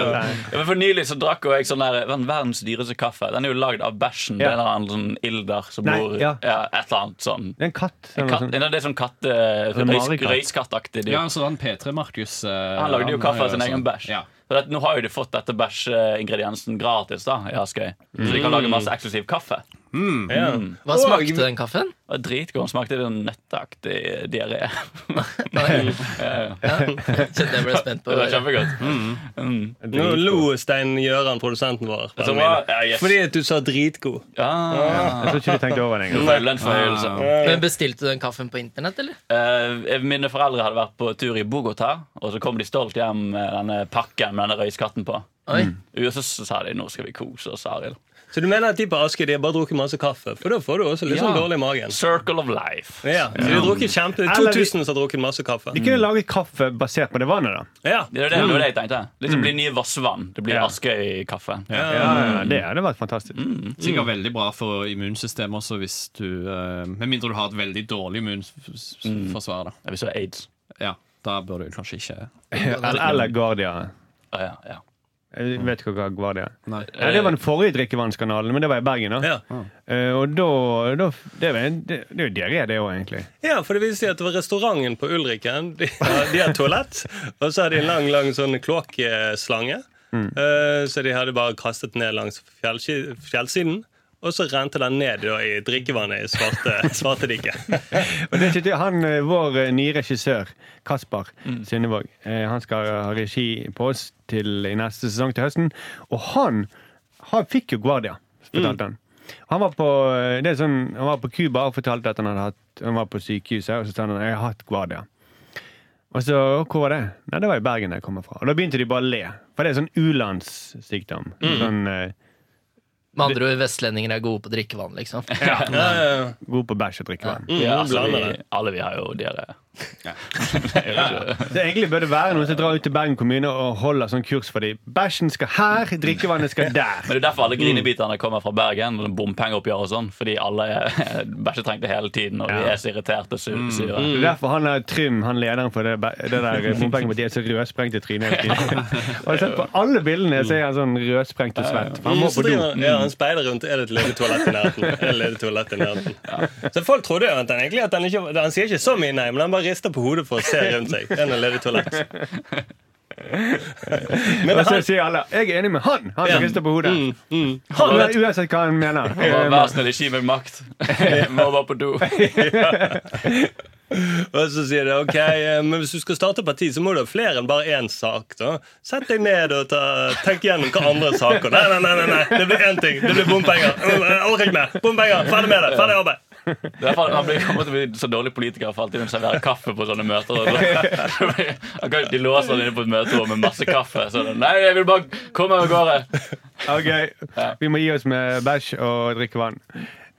Speaker 2: Ja, men for nylig så drakk jo jeg sånn der den verdens dyreste kaffe. Den er jo lagd av bæsjen til
Speaker 5: Ja.
Speaker 2: en eller annen sånn ilder som
Speaker 5: Nei,
Speaker 2: bor
Speaker 5: ja.
Speaker 2: ja. et eller annet sånn.
Speaker 5: Det er en katt. eller noe
Speaker 2: Katt,
Speaker 5: sånt.
Speaker 2: nei, det er sånn katte...
Speaker 5: en
Speaker 2: røys-
Speaker 5: marekatt.
Speaker 2: Røyskattaktig dyr.
Speaker 7: Ja, så han P3 Markus eh,
Speaker 2: Han lagde jo kaffe av sin
Speaker 7: sånn.
Speaker 2: egen bæsj.
Speaker 7: Ja.
Speaker 2: For at, nå har jo de fått dette bæsjingrediensen gratis da, i Askøy. Så de kan lage masse eksklusiv kaffe.
Speaker 3: Ja.
Speaker 6: Hva smakte den kaffen?
Speaker 2: Og dritgod. Smakte det nøtteaktig diaré.
Speaker 6: Kjente jeg ble spent på.
Speaker 2: (laughs) det
Speaker 6: å
Speaker 2: var
Speaker 6: høre.
Speaker 2: kjempegodt. (laughs)
Speaker 3: Nå lo Stein Gjøran, produsenten vår.
Speaker 2: Så bra. Ja, yes.
Speaker 3: Fordi at du sa dritgod.
Speaker 2: Ah,
Speaker 5: Jeg tror ikke de tenkte over det engang.
Speaker 2: lønnforhøyelse.
Speaker 6: Men bestilte du den kaffen på internett, eller?
Speaker 2: Eh, mine foreldre hadde vært på tur i Bogotá, og så kom de stolt hjem med denne pakken med denne røyskatten på.
Speaker 6: Oi.
Speaker 2: Og så sa de 'nå skal vi kose oss', Arild.
Speaker 3: Så du mener at de på Askøy de har bare drukket masse kaffe? For da får du også litt sånn
Speaker 2: Ja.
Speaker 3: dårlig i magen.
Speaker 2: Circle of life.
Speaker 3: Ja, så de har drukket kjempe
Speaker 5: Eller de-
Speaker 3: 2000 som har drukket masse kaffe.
Speaker 5: De kunne laget kaffe basert på det vannet, da.
Speaker 3: Ja.
Speaker 2: Det er det, det, var det jeg tenkte. Litt som blir nye Vassvann. Det blir
Speaker 5: Ja.
Speaker 2: Askøy-kaffe.
Speaker 5: Ja, ja, Det hadde vært fantastisk.
Speaker 3: Mm.
Speaker 7: Sikkert veldig bra for immunsystemet også, hvis du eh, Med mindre du har et veldig dårlig immunforsvar, da.
Speaker 2: Ja, Hvis du har aids.
Speaker 7: Ja, da bør du kanskje ikke
Speaker 5: Eller, eller Guardia.
Speaker 2: Å, ja, ja.
Speaker 5: Jeg vet ikke hva Guardia er.
Speaker 7: Nei.
Speaker 5: Ja, det var den forrige drikkevannskanalen, men det var i Bergen. da
Speaker 3: Ja.
Speaker 5: Eh, Og da, da det, var en, det, det er jo diaré, det òg, egentlig.
Speaker 3: ja, for det viste seg at det var restauranten på Ulriken. De har, de har toalett, og så har de en lang lang sånn kloakkslange. Eh, så de hadde bare kastet ned langs fjellski- fjellsiden. Og så rente den ned da, i drikkevannet i svarte, (laughs) svartediket.
Speaker 5: Og det, er ikke- han, eh, Vår eh, nye regissør, Kasper Synnevåg, eh, han skal ha regi på oss til, i neste sesong til høsten. Og han, han fikk jo Guardia, fortalte han. Han var på eh, det er sånn, han var på Cuba og fortalte at han hadde hatt Han var på sykehuset, og så sa han jeg har hatt Guardia. Og så, hvor var det? Nei, det var i Bergen jeg kommer fra. Og da begynte de bare å le. For det er sånn u-landssykdom. Sånn eh,
Speaker 6: Med andre ord, vestlendinger er gode på drikkevann, liksom.
Speaker 3: Ja, ja, ja.
Speaker 5: god på bæsj og drikkevann.
Speaker 3: Mm,
Speaker 2: Ja, altså,
Speaker 3: blander
Speaker 2: vi,
Speaker 3: det.
Speaker 2: alle vi har jo diaré.
Speaker 5: Så egentlig bør det være noen som drar ut til Bergen kommune og holder sånn kurs for dem. Bæsjen skal her, drikkevannet skal der.
Speaker 2: Men det er derfor alle grinebiterne kommer fra Bergen. og Bompengeoppgjør og sånn. Fordi alle er (laughs) bæsjetrengte hele tiden, og de
Speaker 5: Ja.
Speaker 2: er så irriterte og su-
Speaker 7: Mm.
Speaker 2: sure.
Speaker 5: Det er derfor han er Trym, han lederen for det, bæ- det der bompengepartiet, så rødsprengt i trynet. hele tiden. Og jeg har sett på alle bildene så er han sånn rødsprengt og svett. For han må
Speaker 3: Så
Speaker 5: på do. Mm.
Speaker 3: driver han- Ja, han speider rundt. Er det et ledig toalett i nærheten? Er det et ledig toalett i
Speaker 5: (laughs)
Speaker 3: nærheten? Så folk trodde jo at han egentlig at han ikke Han sier ikke så mye nei, men han bare rister på hodet for å se rundt seg. Er det noe ledig toalett?
Speaker 5: (laughs)
Speaker 3: Men
Speaker 5: Og så
Speaker 3: han,
Speaker 5: sier alle 'jeg er enig med han', han som
Speaker 3: Ja.
Speaker 5: rister på hodet.
Speaker 3: han vet
Speaker 5: Uansett hva han mener. Eh,
Speaker 2: Bare Vær snill, ikke gi meg makt. Jeg (laughs) Må bare på do.
Speaker 3: Og så sier de ok, eh, men hvis du skal starte parti, så må du ha flere enn bare én sak. da Sett deg ned og ta, tenk gjennom hva andre Eh, saker Nei, nei, nei, nei, nei. det blir én ting. Det blir bompenger. Mm, Jeg orker ikke mer. Bompenger. Ferdig med det. Ferdig arbeid.
Speaker 2: Det er derfor Han blir, kommer til å bli så dårlig politiker for alltid å servere kaffe på sånne møter. Og (laughs) så. Han kan, de låser han inne på et møterom med masse kaffe. Så er det, Nei, jeg vil bare komme meg av gårde.
Speaker 5: Ok, Vi må gi oss med bæsj og drikke vann.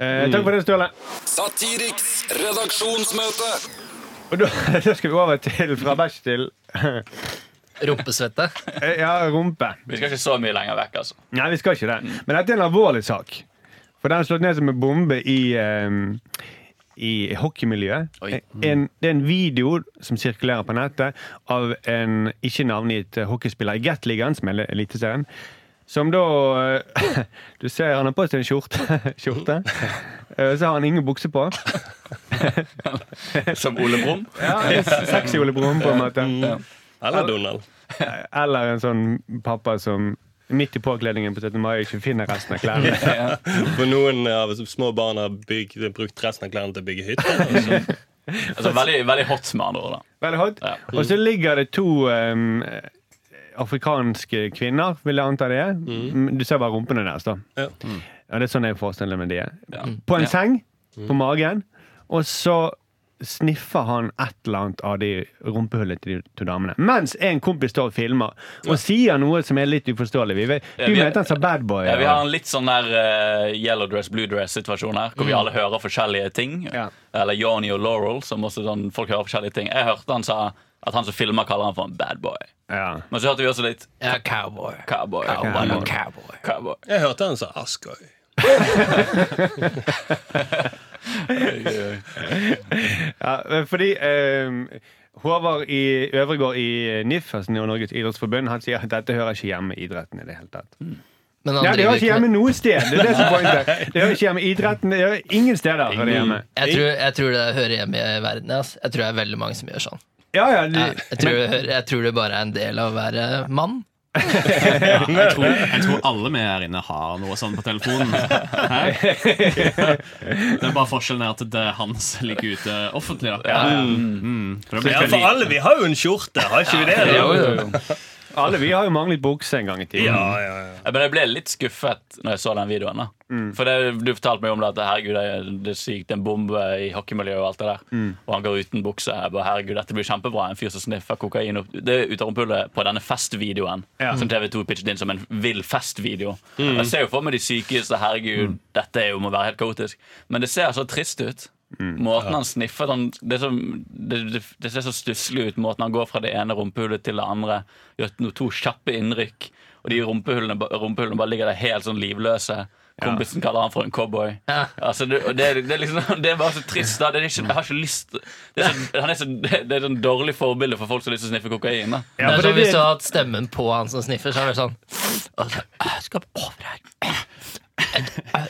Speaker 5: Eh, takk for det, Ståle.
Speaker 4: Satiriks redaksjonsmøte.
Speaker 5: Og da, (laughs) da skal vi over til fra bæsj til (laughs)
Speaker 6: Rumpesvette.
Speaker 5: eh, ja, rumpe.
Speaker 2: Vi skal ikke så mye lenger vekk, altså.
Speaker 5: Nei, vi skal ikke det. Men dette er en alvorlig sak. For den er slått ned som en bombe i, ehm, i hockeymiljøet.
Speaker 2: Oi.
Speaker 5: En, det er en video som sirkulerer på nettet av en ikke navngitt eh, hockeyspiller i Gatligaen, som er le- eliteserien. Som da eh, (laughs) Du ser han har på seg en skjorte. (laughs) skjorte. Eh, Så har han ingen bukse på.
Speaker 2: Som Ole Brumm.
Speaker 5: Ja, (laughs) en Sexy Ole Brumm, på en måte.
Speaker 3: Eller Donald.
Speaker 5: Eller en sånn pappa som midt i påkledningen på 17. mai ikke finner resten av klærne.
Speaker 3: For noen av små barn har bygd, brukt resten av klærne til å bygge hytter. Altså.
Speaker 2: Altså, veldig, veldig hot, med andre ord. da
Speaker 5: Veldig hot.
Speaker 2: Ja.
Speaker 5: Og så ligger det to ehm, afrikanske kvinner, vil jeg anta det er.
Speaker 2: Mm.
Speaker 5: Du ser bare rumpene deres, da.
Speaker 3: Ja.
Speaker 5: Ja, det er sånn jeg forestiller meg de er. På en seng,
Speaker 2: Mm.
Speaker 5: på magen, og så sniffer han et eller annet av de rumpehullene til de to damene. Mens en kompis står og filmer og sier noe som er litt uforståelig. Vi vet,
Speaker 2: Ja,
Speaker 5: du
Speaker 2: vi-
Speaker 5: mente han sa bad boy.
Speaker 2: Ja, vi har
Speaker 5: og-
Speaker 2: en litt sånn der eh, yellow dress, blue dress-situasjon her, hvor vi alle hører forskjellige ting.
Speaker 5: Ja.
Speaker 2: Eller Johnny og Laurel, som også sånn, folk hører forskjellige ting. Jeg hørte han sa at han som filmer, kaller han for en bad boy.
Speaker 5: ja.
Speaker 2: Men så hørte vi også litt
Speaker 6: Ja, cowboy.
Speaker 2: cowboy.
Speaker 5: Cowboy.
Speaker 6: Cowboy.
Speaker 2: Cowboy.
Speaker 3: Jeg hørte han sa Askøy.
Speaker 5: Ja, eh, fordi ehm, Håvard i Øvregård i NIF, altså Norges idrettsforbund, han sier at dette hører ikke hjemme i idretten i det hele tatt.
Speaker 6: Men han
Speaker 5: Ja, det
Speaker 6: driver
Speaker 5: hører ikke
Speaker 6: ikke
Speaker 5: hjemme
Speaker 6: med
Speaker 5: noe sted. Det er det som er poenget. Det hører ikke hjemme i idretten. Det hører ingen steder hører det hjemme.
Speaker 6: jeg tror, jeg tror det hører hjemme i verden. ass. Jeg tror det er veldig mange som gjør sånn.
Speaker 5: Ja, ja, de,
Speaker 6: Jeg, jeg, tror, det hører, jeg tror det bare er en del av å være mann.
Speaker 7: Jeg tror, jeg tror alle vi her inne har noe sånt på telefonen. Hæ? Det er bare forskjellen er at det er hans ligger ute offentlig. Da. Mm. For det blir
Speaker 3: Ja,
Speaker 7: veldig-
Speaker 3: for alle, vi har jo en skjorte, har ikke vi det? da?
Speaker 5: alle vi har jo manglet bukse en gang i tiden.
Speaker 3: Ja, ja, ja.
Speaker 2: Ja, Men jeg ble litt skuffet når jeg så den videoen. da For det, du fortalte meg om det at herregud, det er, det er sykt, det er en bombe i hockeymiljøet og alt det der. Og han går uten bukse. Jeg bare, herregud, dette blir kjempebra. En fyr som sniffer kokain opp Det er ut av rumpehullet på denne festvideoen som TV2 pitchet inn som en vill festvideo. Jeg ser jo for meg de sykeste. Herregud, dette er jo må være helt kaotisk. Men det ser så trist ut. Måten han sniffer sånn, det, er så- det, det, det ser så stusslig ut. Måten han går fra det ene rumpehullet til det andre. Gjør no- to kjappe innrykk. Og de rumpehullene, ba- rumpehullene bare ligger der helt sånn livløse. Kompisen kaller han for en cowboy.
Speaker 6: Ja.
Speaker 2: Altså, det, og det, er- det, er liksom, (laughs) det er bare så trist. Da. Det er ikke, jeg har ikke lyst det er, så, han er, så, det er sånn dårlig forbilde for folk som har lyst til å sniffe kokain. Da.
Speaker 5: Ja,
Speaker 6: det
Speaker 5: for
Speaker 6: er sånn
Speaker 5: det-
Speaker 6: Hvis du hadde hatt stemmen på han som sniffer, så er det sånn altså, Jeg skal over her.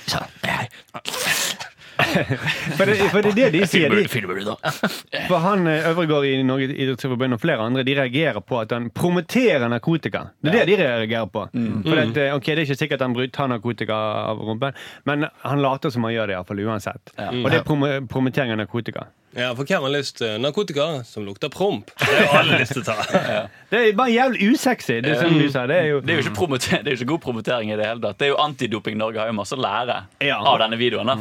Speaker 6: Sånn. her.
Speaker 5: For det, for det er det de sier. De,
Speaker 6: (laughs) Filmer du, da?
Speaker 5: (laughs) for han eh, Øvregård i Norges idrettsforbund og flere andre de reagerer på at han promoterer narkotika. Det er det de reagerer på.
Speaker 6: Mm.
Speaker 5: For at, eh, ok, Det er ikke sikkert han bryt- tar narkotika av rumpen, men han later som han gjør det, i hvert fall uansett. Og det er prom promotering av narkotika.
Speaker 3: ja, for hvem har lyst til narkotika som lukter promp? Det har jo alle lyst til å ta.
Speaker 5: Det er bare jævlig usexy, det som
Speaker 6: Mm.
Speaker 5: du sa. Det er jo
Speaker 2: Det er jo ikke, promoter, det er jo ikke god promotering i det hele tatt. Det er jo Antidoping Norge har jo masse å lære
Speaker 5: Ja.
Speaker 2: av denne videoen. Da.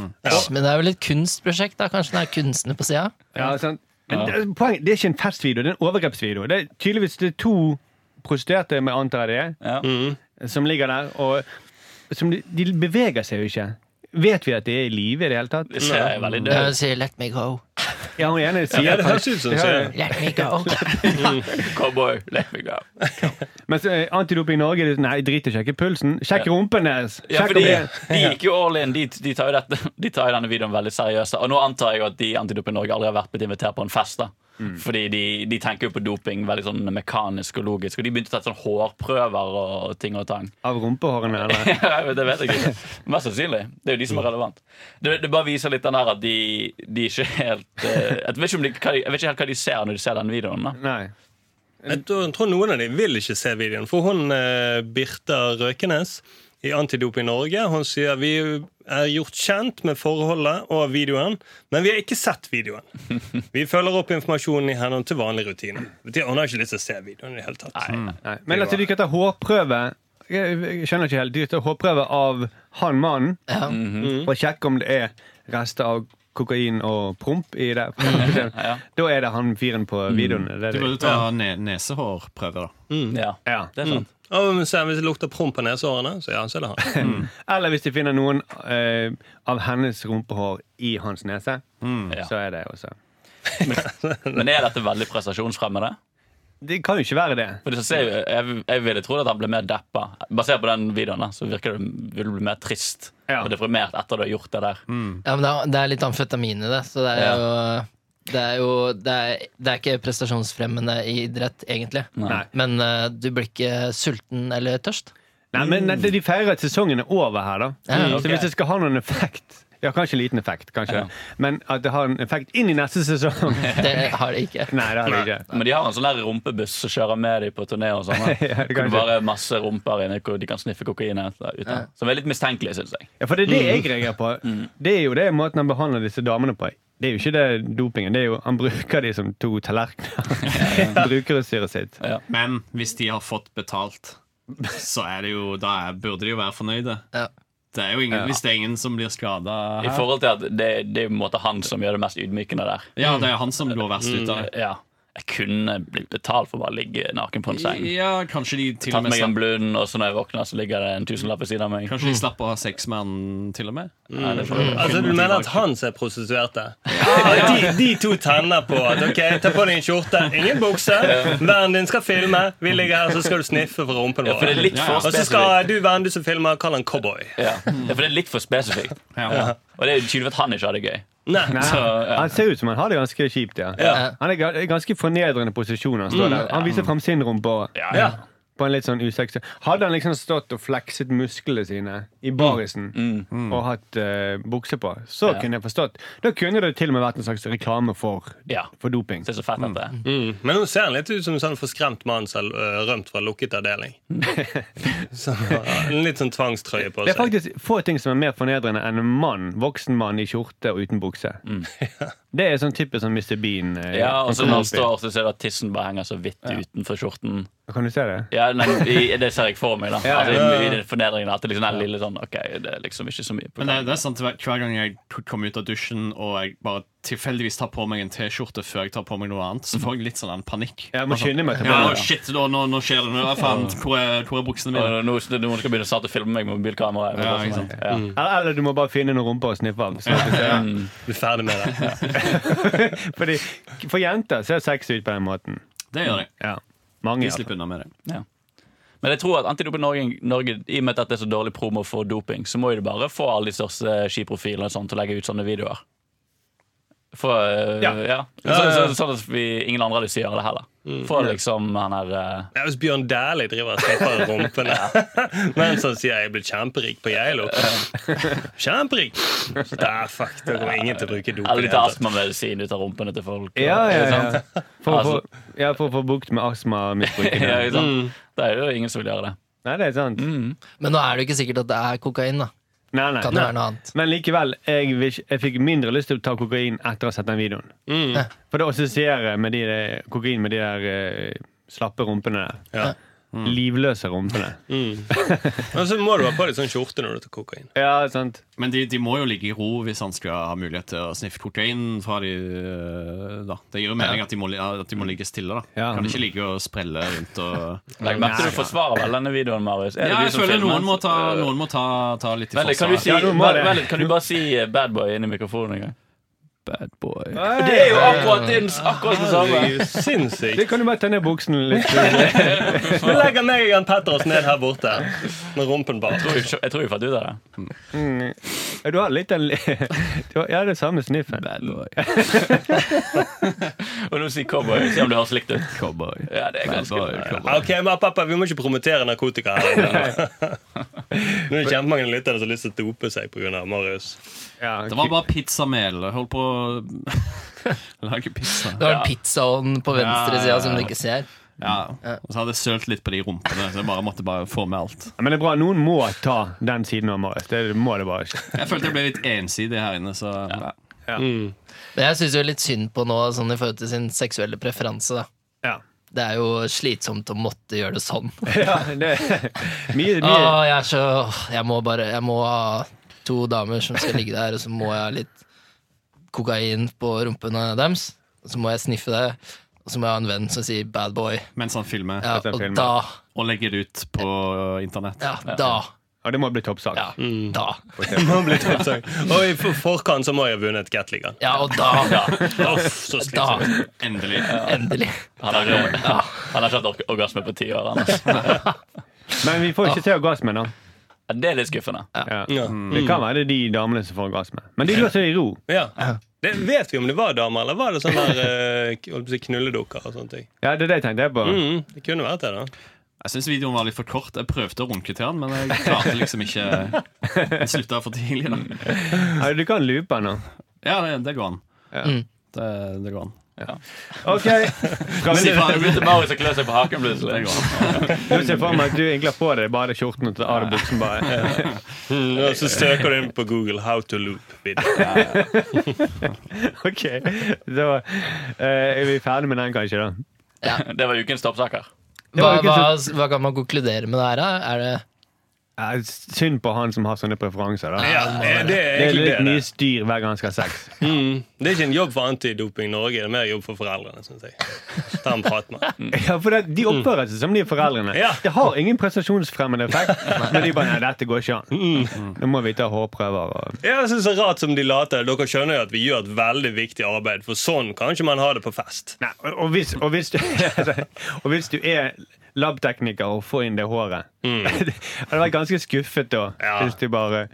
Speaker 6: Men det er vel et kunstprosjekt, da? Kanskje det er kunstner på sida?
Speaker 5: Ja, sant. Men det, poenget, det er ikke en festvideo, det er en overgrepsvideo. Det er tydeligvis det er to prostituerte, med antar jeg det
Speaker 2: Ja.
Speaker 6: Mm.
Speaker 5: er, som ligger der, og som de, de beveger seg jo ikke. Vet vi at de er i live i det hele tatt?
Speaker 2: Det ser jeg veldig
Speaker 6: Jeg
Speaker 2: død
Speaker 6: vil si 'let me go'.
Speaker 5: Ja, hun ene sier
Speaker 3: Ja, det høres
Speaker 5: faktisk-
Speaker 3: ut som
Speaker 5: Ja, ja.
Speaker 3: sier
Speaker 6: Let
Speaker 5: (laughs)
Speaker 6: me go.
Speaker 2: Cowboy, let me go.
Speaker 5: Mens eh, Antidoping Norge de- Nei, drit i å sjekke pulsen. Sjekk rumpen deres!
Speaker 2: Ja,
Speaker 5: Sjekk
Speaker 2: fordi
Speaker 5: om det-
Speaker 2: De gikk jo all in. De, de, tar jo dette, de tar jo denne videoen veldig seriøst. Og nå antar jeg jo at de i Antidoping Norge aldri har vært blitt invitert på en fest. da
Speaker 5: Mm.
Speaker 2: Fordi de, de tenker jo på doping veldig sånn mekanisk og logisk. Og de begynte å ta sånn hårprøver og ting og tang. (laughs)
Speaker 5: Av rumpehårene, eller?
Speaker 2: Ja, det vet jeg ikke. Mest sannsynlig. Det er jo de som er relevant. Det, det bare viser litt den her at de, de ikke helt eh, Jeg vet ikke, om de, hva, de- jeg vet ikke helt hva de ser når de ser den videoen. da
Speaker 5: Nei.
Speaker 3: Jeg tror, tror noen av dem vil ikke se videoen. For hun eh, Birta Røkenes i Antidoping Norge hun sier vi er gjort kjent med forholdet og videoen, men vi har ikke sett
Speaker 2: (laughs)
Speaker 3: videoen. Vi følger opp informasjonen i henhold til vanlig rutine. Betyr- Hun har ikke lyst til å se videoen i det hele tatt.
Speaker 5: nei. Men altså, de kan ta hårprøve Jeg jeg skjønner ikke helt. De kan ta hårprøve av han mannen.
Speaker 6: Ja.
Speaker 5: Og sjekke om det er rester av kokain og promp i det. (laughs) Da er det han fyren på videoen. Det er
Speaker 7: Du
Speaker 5: det.
Speaker 7: burde ta ne nesehårprøve, da.
Speaker 2: Ja,
Speaker 5: Mm. Ja.
Speaker 2: det er sant.
Speaker 3: Ja, men se, Hvis det lukter promp på nesehårene, så ja, så er det
Speaker 2: (laughs)
Speaker 3: han.
Speaker 5: Eller hvis de finner noen eh, av hennes rumpehår i hans nese,
Speaker 2: Mm. Ja.
Speaker 5: så er det også
Speaker 2: Men er dette veldig prestasjonsfremmende?
Speaker 5: Det kan jo ikke være det.
Speaker 2: For det som ser, jeg, jeg ville trodd at han ble mer deppa. Basert på den videoen da, så virker det vil du bli mer trist
Speaker 5: Ja.
Speaker 2: og deprimert etter du har gjort det der.
Speaker 6: Ja, men det er, det er litt amfetamin i det, så det er
Speaker 2: Ja.
Speaker 6: jo det er jo det er, det er ikke prestasjonsfremmende i idrett, egentlig.
Speaker 5: Nei.
Speaker 6: Men eh, du blir ikke sulten eller tørst.
Speaker 5: Nei, men det- De feirer at sesongen er over her, da.
Speaker 6: Ja,
Speaker 5: Så hvis det skal ha noen effekt Ja, kanskje liten effekt, kanskje. Men at det har en effekt inn i neste sesong
Speaker 6: Det
Speaker 5: (laughs)
Speaker 6: har det ikke.
Speaker 5: Nei, det har det ikke.
Speaker 2: Men de har en sånn der rumpebuss som kjører med dem på turné. og sånn da.
Speaker 5: Ja, det
Speaker 2: Hvor
Speaker 5: kan
Speaker 2: det bare er masse rumper inne hvor de kan sniffe kokain ut. Ja. Som er litt mistenkelig, syns jeg.
Speaker 5: Ja, for det er det jeg reagerer på. Det er jo det måten han behandler disse damene på. Det er jo ikke det dopingen. Det er jo, han bruker de som to (laughs) tallerkener. Brukerutstyret sitt.
Speaker 7: Men hvis de har fått betalt, så er det jo Da er, burde de jo være fornøyde.
Speaker 6: Ja.
Speaker 7: Det er jo ingen, Hvis det er ingen som blir skada
Speaker 2: I forhold til at det, det er på en måte han som gjør det mest ydmykende der.
Speaker 7: Ja, det er han som går verst ut av det.
Speaker 2: Ja. Jeg kunne blitt betalt for å bare ligge naken på en seng.
Speaker 7: Ja, kanskje de til og
Speaker 2: Tatt
Speaker 7: med
Speaker 2: meg en
Speaker 7: slapp,
Speaker 2: blund, og så når jeg våkner, så ligger det en tusenlapp ved siden av meg.
Speaker 7: Kanskje de slapp å ha sex med han til og med?
Speaker 2: Ja, det får jeg-
Speaker 3: Altså, Du mener at Hans er prostituerte? (laughs) Ja, de, de to tenner på at ok, ta på deg en skjorte, ingen bukse, vennen din skal filme, vi ligger her, så skal du sniffe for rumpen
Speaker 2: Ja, for det er
Speaker 3: vår.
Speaker 2: litt for
Speaker 3: Og så
Speaker 2: spesifikt.
Speaker 3: skal du vennen du som filmer, kalle han cowboy.
Speaker 2: Ja. ja, for det er litt for spesifikt.
Speaker 7: Ja.
Speaker 2: Og det er jo tydelig at han ikke har det gøy.
Speaker 3: Nei,
Speaker 5: Nei,
Speaker 2: Så, ja.
Speaker 5: Han ser ut som han har det ganske kjipt. ja.
Speaker 3: Ja.
Speaker 5: Han er ga- i ganske fornedrende posisjon. Han
Speaker 2: Mm.
Speaker 5: står der. Han viser fram sin rumpe. også.
Speaker 3: ja.
Speaker 5: På en litt sånn usexy Hadde han liksom stått og flekset musklene sine i barisen
Speaker 2: Mm.
Speaker 5: og hatt eh, bukse på, så kunne jeg forstått. Da kunne det til og med vært en slags reklame for,
Speaker 2: Ja.
Speaker 5: for doping.
Speaker 2: Det er så fett at det er.
Speaker 3: Mm. Men nå ser han litt ut som en sånn forskremt mann som har øh, rømt fra lukket avdeling. Så, ja, en litt sånn tvangstrøye på
Speaker 5: Det er
Speaker 3: seg.
Speaker 5: faktisk få ting som er mer fornedrende enn en mann, voksen mann i skjorte og uten bukse. (laughs) Det er sånn typisk sånn Mr. Bean. eh,
Speaker 2: Mm. Ja,
Speaker 5: han
Speaker 2: og så
Speaker 5: kommer
Speaker 2: når han
Speaker 5: opp i.
Speaker 2: står, så ser du at tissen bare henger så vidt utenfor skjorten.
Speaker 5: Kan du se det?
Speaker 2: Ja, nei, i, Det ser jeg for meg, da.
Speaker 5: Ja,
Speaker 2: Altså,
Speaker 3: ja,
Speaker 2: i, I den fornedringen at det liksom er lille sånn Ok, det er liksom ikke så mye på
Speaker 7: Men det, det er sant, hver hver gang jeg k- kommer ut av dusjen og jeg bare tilfeldigvis tar på meg en T-skjorte før jeg tar på meg noe annet, så får jeg litt sånn en panikk.
Speaker 5: Jeg må skynde meg
Speaker 7: Ja,
Speaker 5: tilbake.
Speaker 7: shit, da, nå, nå skjer det noe. Ja, faen, Hvor er, hvor er buksene mine?
Speaker 2: Og Nå skal noen skal begynne å starte å filme meg med mobilkamera.
Speaker 7: Ja,
Speaker 2: Eller
Speaker 7: ikke
Speaker 2: noe
Speaker 7: sant.
Speaker 2: sånt. Ja.
Speaker 5: Eller, eller du må bare finne noen rumper å sniffe av. så at du ser-
Speaker 3: Du er ferdig med det.
Speaker 5: Fordi, for jenter ser sex ut på den måten.
Speaker 7: Det gjør jeg.
Speaker 5: Ja. Mange. altså.
Speaker 7: Vi
Speaker 5: Ja.
Speaker 7: slipper unna med det.
Speaker 2: Men jeg tror at Antidoping Norge, Norge, i og med at det er så dårlig promo for doping, så må jo de bare få alle de største skiprofilene og sånn til å legge ut sånne videoer. For, øh, ja.
Speaker 5: Ja.
Speaker 2: Så, så, sånn at vi, ingen andre har lyst til å gjøre det heller.
Speaker 7: Mm.
Speaker 2: Få liksom han her øh,
Speaker 3: Ja, Hvis Bjørn Dæhlie driver og straffer (laughs) rumpene mens han sier 'jeg ble kjemperik på Geilo'. Kjemperik! Så da, fuck, da kommer ingen til å bruke dop. i
Speaker 2: Eller
Speaker 3: det
Speaker 2: litt
Speaker 3: hele tatt.
Speaker 2: astmamedisin ut av rumpene til folk. og-
Speaker 5: Ja, ja,
Speaker 2: ikke sant? (laughs)
Speaker 5: ja.
Speaker 7: (laughs)
Speaker 5: For, å få- ja, for å få bukt med astmamisbruket.
Speaker 2: Ja, ikke sant?
Speaker 7: Mm.
Speaker 2: Det er jo ingen som vil gjøre det.
Speaker 5: Nei, det er sant.
Speaker 6: Men nå er det jo ikke sikkert at det er kokain, da.
Speaker 5: Nei, nei.
Speaker 6: Kan det være noe annet?
Speaker 5: Men likevel, jeg, vil ikke- jeg fikk mindre lyst til å ta kokain etter å ha sett den videoen. For det assosierer med de der, kokain med de der eh, slappe rumpene der.
Speaker 3: Ja.
Speaker 5: Livløse rumpene.
Speaker 3: Og så må du ha på deg sånn skjorte når du tar kokain.
Speaker 5: Ja, sant.
Speaker 7: Men de, de må jo ligge i ro hvis han skal ha mulighet til å sniffe kokain fra de øh, da. Det gir jo mening at de må, li- at de må ligge stille, da.
Speaker 5: Ja.
Speaker 7: Kan ikke ligge og sprelle rundt og
Speaker 2: Legg merke til du forsvarer vel denne videoen, Marius. Er det
Speaker 7: Ja,
Speaker 2: du
Speaker 7: jeg
Speaker 2: som
Speaker 7: føler
Speaker 2: filmer?
Speaker 7: noen må ta, noen må ta, ta litt i
Speaker 2: Vent litt, kan, du si,
Speaker 5: Ja, noen må det.
Speaker 2: vent litt, kan du bare si eh, bad boy inn i mikrofonen en gang? Bad boy.
Speaker 5: Nei.
Speaker 2: Det er jo akkurat, din, akkurat det samme.
Speaker 3: Det er jo sinnssykt.
Speaker 5: Det kan du bare ta ned buksen litt.
Speaker 3: Nå legger meg og Jan Petter oss ned her borte med rumpen bar.
Speaker 2: Jeg tror- Jeg tror vi fant ut av det.
Speaker 5: Ja, Du har litt den li- (laughs) du har, Ja, det er samme sniffen.
Speaker 2: Og nå sier cowboy. Se om det høres likt ut. Ja, det er ganske
Speaker 3: Ah, Ok, men pappa, Vi må ikke promotere narkotika her. inne. Nå er det kjempemange lyttere som har lyst til å dope seg pga. Marius.
Speaker 5: Ja,
Speaker 7: Det var bare pizzamel. Jeg Holdt på å (laughs) lage pizza.
Speaker 6: Du har pizzaovnen på venstre
Speaker 7: Ja, ja,
Speaker 6: sida som du ikke ser.
Speaker 7: Ja. Og så hadde jeg sølt litt på de rumpene, så jeg bare måtte bare få med alt.
Speaker 5: Men det er bra. Noen må ta den siden av Marius. Det må det bare ikke.
Speaker 7: Jeg følte jeg ble litt ensidig her inne, så ja.
Speaker 6: Men jeg syns jo litt synd på nå, sånn i forhold til sin seksuelle preferanse, da.
Speaker 5: Ja.
Speaker 6: Det er jo slitsomt å måtte gjøre det sånn.
Speaker 5: Ja, det mye,
Speaker 6: Å,
Speaker 5: mye.
Speaker 6: jeg er så Jeg må bare Jeg må ha to damer som skal ligge der, og så må jeg ha litt kokain på rumpene deres. Og så må jeg sniffe det, og så må jeg ha en venn som sier bad boy.
Speaker 7: mens han filmer
Speaker 6: Ja,
Speaker 5: Dette er
Speaker 6: og
Speaker 5: filmen.
Speaker 6: da,
Speaker 7: og legger det ut på internett.
Speaker 6: ja, da,
Speaker 5: Og det må bli toppsak.
Speaker 6: ja, da.
Speaker 3: Må bli toppsak. (laughs) Og i for- forkant så må jeg ha vunnet Gatligaen.
Speaker 6: Ja, og da,
Speaker 3: Uff, så
Speaker 6: da,
Speaker 3: slitsomt.
Speaker 7: Endelig.
Speaker 6: endelig.
Speaker 2: Han har, han har ikke hatt org- orgasme på ti år. Anders.
Speaker 5: Men vi får ikke til orgasme, da.
Speaker 2: Ja, Det er litt skuffende.
Speaker 5: Ja.
Speaker 3: Ja.
Speaker 5: Det kan være det er de damene som får orgasme. Men de lå seg i ro.
Speaker 3: Ja. Det vet vi om det var damer, eller var det sånne der, eh, k- holdt på å si knulledukker og sånne ting?
Speaker 5: Ja, det er det jeg tenkte jeg på.
Speaker 3: Mm, det kunne vært det, da.
Speaker 7: Jeg syns videoen var litt for kort. Jeg prøvde å runke til den, men jeg klarte liksom ikke Jeg slutta for tidlig. Da.
Speaker 5: Ja, du kan loope nå.
Speaker 7: Ja, det, det går an.
Speaker 5: Ja.
Speaker 6: Mm.
Speaker 7: Det, det går an.
Speaker 5: Ok, skal
Speaker 7: Si
Speaker 5: vi
Speaker 7: fra-
Speaker 2: Det begynte Marius å klø seg på haken
Speaker 7: Det
Speaker 2: plutselig.
Speaker 7: går an.
Speaker 5: Nå ser jeg for meg at du egentlig har på deg bare skjorten og tar av deg buksen bare.
Speaker 3: Mm, og så søker du inn på Google 'How to loop video'.
Speaker 5: Ok, så eh, er vi ferdig med den kanskje da?
Speaker 2: Det var ukens toppsaker.
Speaker 6: Hva,
Speaker 5: var jo
Speaker 6: hva,
Speaker 5: ikke
Speaker 6: hva kan man konkludere med det her? da? Er det
Speaker 5: Ja, synd på han som har sånne preferanser da.
Speaker 3: Ja, eh, det er
Speaker 5: Det er
Speaker 3: egentlig
Speaker 5: litt
Speaker 3: det.
Speaker 5: mye
Speaker 3: Det.
Speaker 5: styr hver gang han skal ha sex.
Speaker 3: Mm, det er ikke en jobb for antidoping i Norge, det er mer jobb for foreldrene, syns jeg. Ta en prat med dem.
Speaker 5: (laughs) Ja, for det, De oppfører seg som de foreldrene.
Speaker 3: Mm. Ja.
Speaker 5: Det har ingen
Speaker 3: (laughs)
Speaker 5: prestasjonsfremmende effekt. Men de bare 'nei, dette går ikke
Speaker 3: Mm.
Speaker 5: an'. Mm. Nå må vi ta hårprøver og
Speaker 3: Jeg synes det er rart som de later. Dere skjønner jo at vi gjør et veldig viktig arbeid, for sånn kan ikke man ha det på fest.
Speaker 5: Nei, og, og, hvis, og, hvis, du, (laughs) og hvis du er labtekniker og får inn det håret Jeg (laughs) hadde vært ganske skuffet da
Speaker 3: Mm. Ja.
Speaker 5: hvis du bare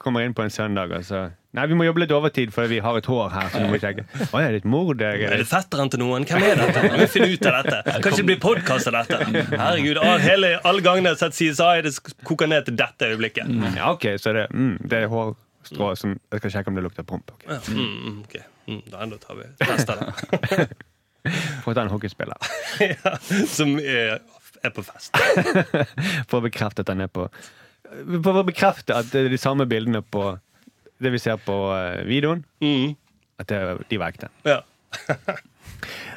Speaker 5: kommer inn på en søndag og så Nei, vi må jobbe litt overtid fordi vi har et hår her. Så du må
Speaker 3: (laughs)
Speaker 5: sjekke. Å, er det et mord? Er
Speaker 3: Er det
Speaker 5: det?
Speaker 3: fetteren til noen? Hvem er dette? Vi finner ut av dette. Kanskje det blir podkast av dette. Herregud, all, hele, alle gangene jeg har sett CSI, det koker ned til dette øyeblikket.
Speaker 5: Ja, ok, så det, mm, det er hårstrå som Jeg skal sjekke om det lukter promp. Okay.
Speaker 3: Ja, Mm, mm, ok. mm, da enda tar vi tester det. (laughs)
Speaker 5: Få ta en hockeyspiller.
Speaker 3: Ja, som er, er på fest.
Speaker 5: For å bekrefte at den er på For å bekrefte at det er de samme bildene på det vi ser på eh, videoen,
Speaker 3: Mm,
Speaker 5: at det, de var ekte.
Speaker 3: ja.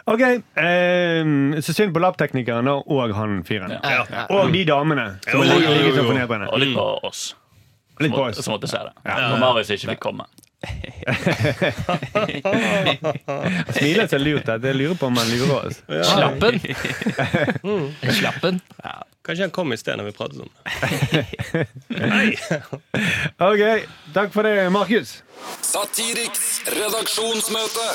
Speaker 5: Ok, eh, Så synd på labteknikeren da, og han fyren.
Speaker 3: Ja.
Speaker 5: Og de damene som
Speaker 3: Jo,
Speaker 5: ligger
Speaker 3: jo, jo,
Speaker 5: ligger så
Speaker 3: jo.
Speaker 5: fornedrende.
Speaker 2: Og litt på Mm. oss.
Speaker 5: Litt på
Speaker 2: Må-
Speaker 5: oss.
Speaker 3: sånn.
Speaker 5: (laughs)
Speaker 2: Som måtte se det. Når Marius ikke fikk komme.
Speaker 5: Smiler så lurt. at Jeg lurer på om han lurer oss.
Speaker 6: slappen? Mm. Slappen?
Speaker 3: Kanskje han kom i sted når vi pratet om det. Nei.
Speaker 5: Ok, Takk for det, Markus.
Speaker 4: Satiriks redaksjonsmøte.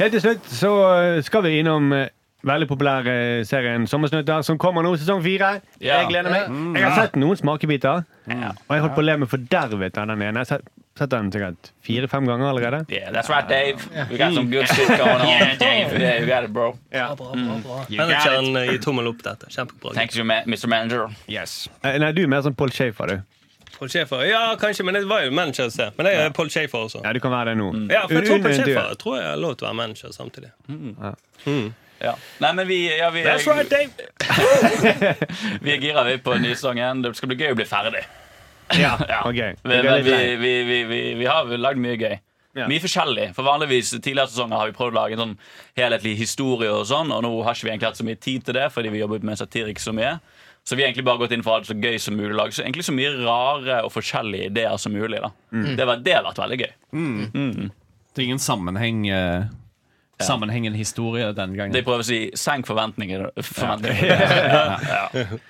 Speaker 5: Helt til slutt så eh, skal vi innom eh, veldig populær eh, serien Sommersnutter, som kommer nå, sesong fire.
Speaker 2: Ja.
Speaker 5: Jeg gleder meg. Jeg har sett noen smakebiter, og jeg holdt på å le meg fordervet av den ene. Jeg har sett- sett den sikkert fire-fem ganger allerede.
Speaker 2: Yeah, that's right, Dave. We got some good shit going on. (laughs) Yeah, you got it, bro.
Speaker 3: Manageren eh, gir tommel opp dette. Kjempebra.
Speaker 2: Thank you, ma- Mr. Manager.
Speaker 5: Eh, Nei, du er mer sånn Paul Schaefer, du.
Speaker 3: Paul Schaefer. Ja, kanskje, men det var jo manager et sted. Men jeg er Paul Schaefer også.
Speaker 5: Ja, du kan være det nå.
Speaker 3: Mm. Ja, for jeg tror
Speaker 5: Un-
Speaker 3: Paul
Speaker 5: un-
Speaker 3: Schaefer jeg tror jeg har lov til å være manager samtidig.
Speaker 2: Ja. Nei, men vi, ja, vi,
Speaker 3: That's right, Dave!
Speaker 2: vi er gira vi på nysesongen. Det skal bli gøy å bli ferdig.
Speaker 5: Ja,
Speaker 2: Ja.
Speaker 5: ok.
Speaker 2: Men,
Speaker 5: Det er
Speaker 2: men
Speaker 5: litt
Speaker 2: vi,
Speaker 5: lei.
Speaker 2: vi, vi, vi, vi har vel lagd mye gøy.
Speaker 5: Ja.
Speaker 2: Mye forskjellig. For vanligvis Tidligere sesonger har vi prøvd å lage en sånn helhetlig historie, og sånn Og nå har ikke vi egentlig hatt så mye tid til det fordi vi jobbet med satirik så mye. Så vi har egentlig bare gått inn for å ha det så gøy som mulig. og lage Så egentlig så mye rare og forskjellige ideer som mulig. da
Speaker 5: Mm.
Speaker 2: det, var, det har vært veldig gøy.
Speaker 7: Det er ingen sammenheng eh, Sammenhengende historie denne gangen.
Speaker 2: Det jeg prøver å si senk forventninger.
Speaker 5: (laughs)
Speaker 2: forventninger.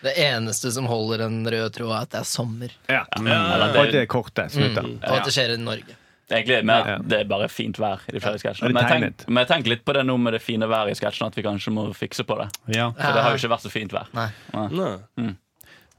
Speaker 6: Det eneste som holder en rød tråd, er at det er sommer.
Speaker 5: Ja. Mm.
Speaker 2: Eller
Speaker 5: Og at det
Speaker 2: det,
Speaker 5: er korte snutter.
Speaker 6: Og at det skjer i Norge.
Speaker 2: det er egentlig mer at det er bare fint vær i de flere
Speaker 5: Og
Speaker 2: sketsjene.
Speaker 5: det
Speaker 2: Men,
Speaker 5: er
Speaker 2: jeg tenk-
Speaker 5: tegnet.
Speaker 2: men jeg tenker litt på det nå med det fine været i sketsjene, at vi kanskje må fikse på det.
Speaker 7: ja.
Speaker 2: For det har jo ikke vært så fint vær.
Speaker 6: Nei.
Speaker 3: Nei.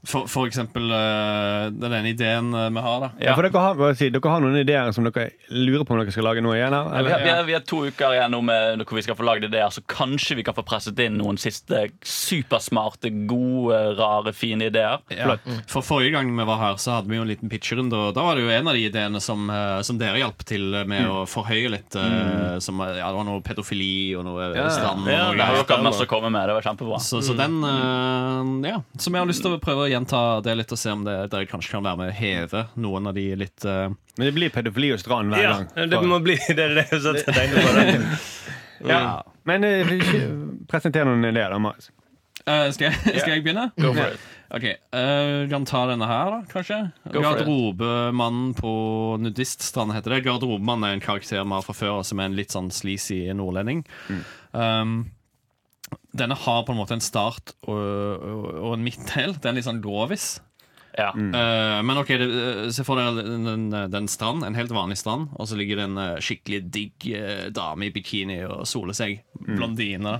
Speaker 7: for, for eksempel eh, det er den ideen eh, vi har, da.
Speaker 5: Ja. for dere har, hva skal jeg si, dere har noen ideer som dere lurer på om dere skal lage noe igjen av?
Speaker 2: Ja, vi,
Speaker 5: eller?
Speaker 2: har, vi, har, vi har to uker igjen nå med hvor vi skal få lagd ideer, så kanskje vi kan få presset inn noen siste supersmarte, gode, rare, fine ideer.
Speaker 7: Ja.
Speaker 5: Mm.
Speaker 7: For Forrige gang vi var her, så hadde vi jo en liten pitcherunde. Og da var det jo en av de ideene som, eh, som dere hjalp til
Speaker 5: Mm.
Speaker 7: med å forhøye litt. eh, Som, eh, ja, det var noe pedofili og noe eh,
Speaker 5: Ja. Mm.
Speaker 7: stand.
Speaker 3: Ja,
Speaker 7: Og
Speaker 2: Det
Speaker 7: noe
Speaker 2: har dere
Speaker 7: greier.
Speaker 2: hatt masse å komme med. Det var kjempebra.
Speaker 7: Så, så den eh, Ja. Så vi har lyst til å prøve å gjenta det litt, og se om det, dere kanskje kan være med å heve noen av de litt eh,
Speaker 5: Men det blir pedofili og strand hver
Speaker 3: Ja,
Speaker 5: gang.
Speaker 3: det må bli det. er det jeg satt og tenkte på. det.
Speaker 5: Ja. Men eh, presenter noen ideer, da, Marius.
Speaker 7: Eh, skal, jeg, (laughs) skal jeg begynne?
Speaker 2: Go for it.
Speaker 7: Ok, eh, Kan ta denne her, da, kanskje?
Speaker 2: Go for it.
Speaker 7: Garderobemannen på nudiststrand heter det. Garderobemannen er en karakter vi har fra før, som er en litt sånn sleazy nordlending.
Speaker 2: Mm.
Speaker 7: Um, denne har på en måte en start og, og, og en midtdel. Den er litt sånn grovis.
Speaker 2: Ja.
Speaker 7: Eh, men ok, det, eh, se for deg den, den, den strand, en helt vanlig strand, og så ligger det en eh, skikkelig digg eh, dame i bikini og soler seg.
Speaker 2: Mm. (laughs)
Speaker 7: Blondine.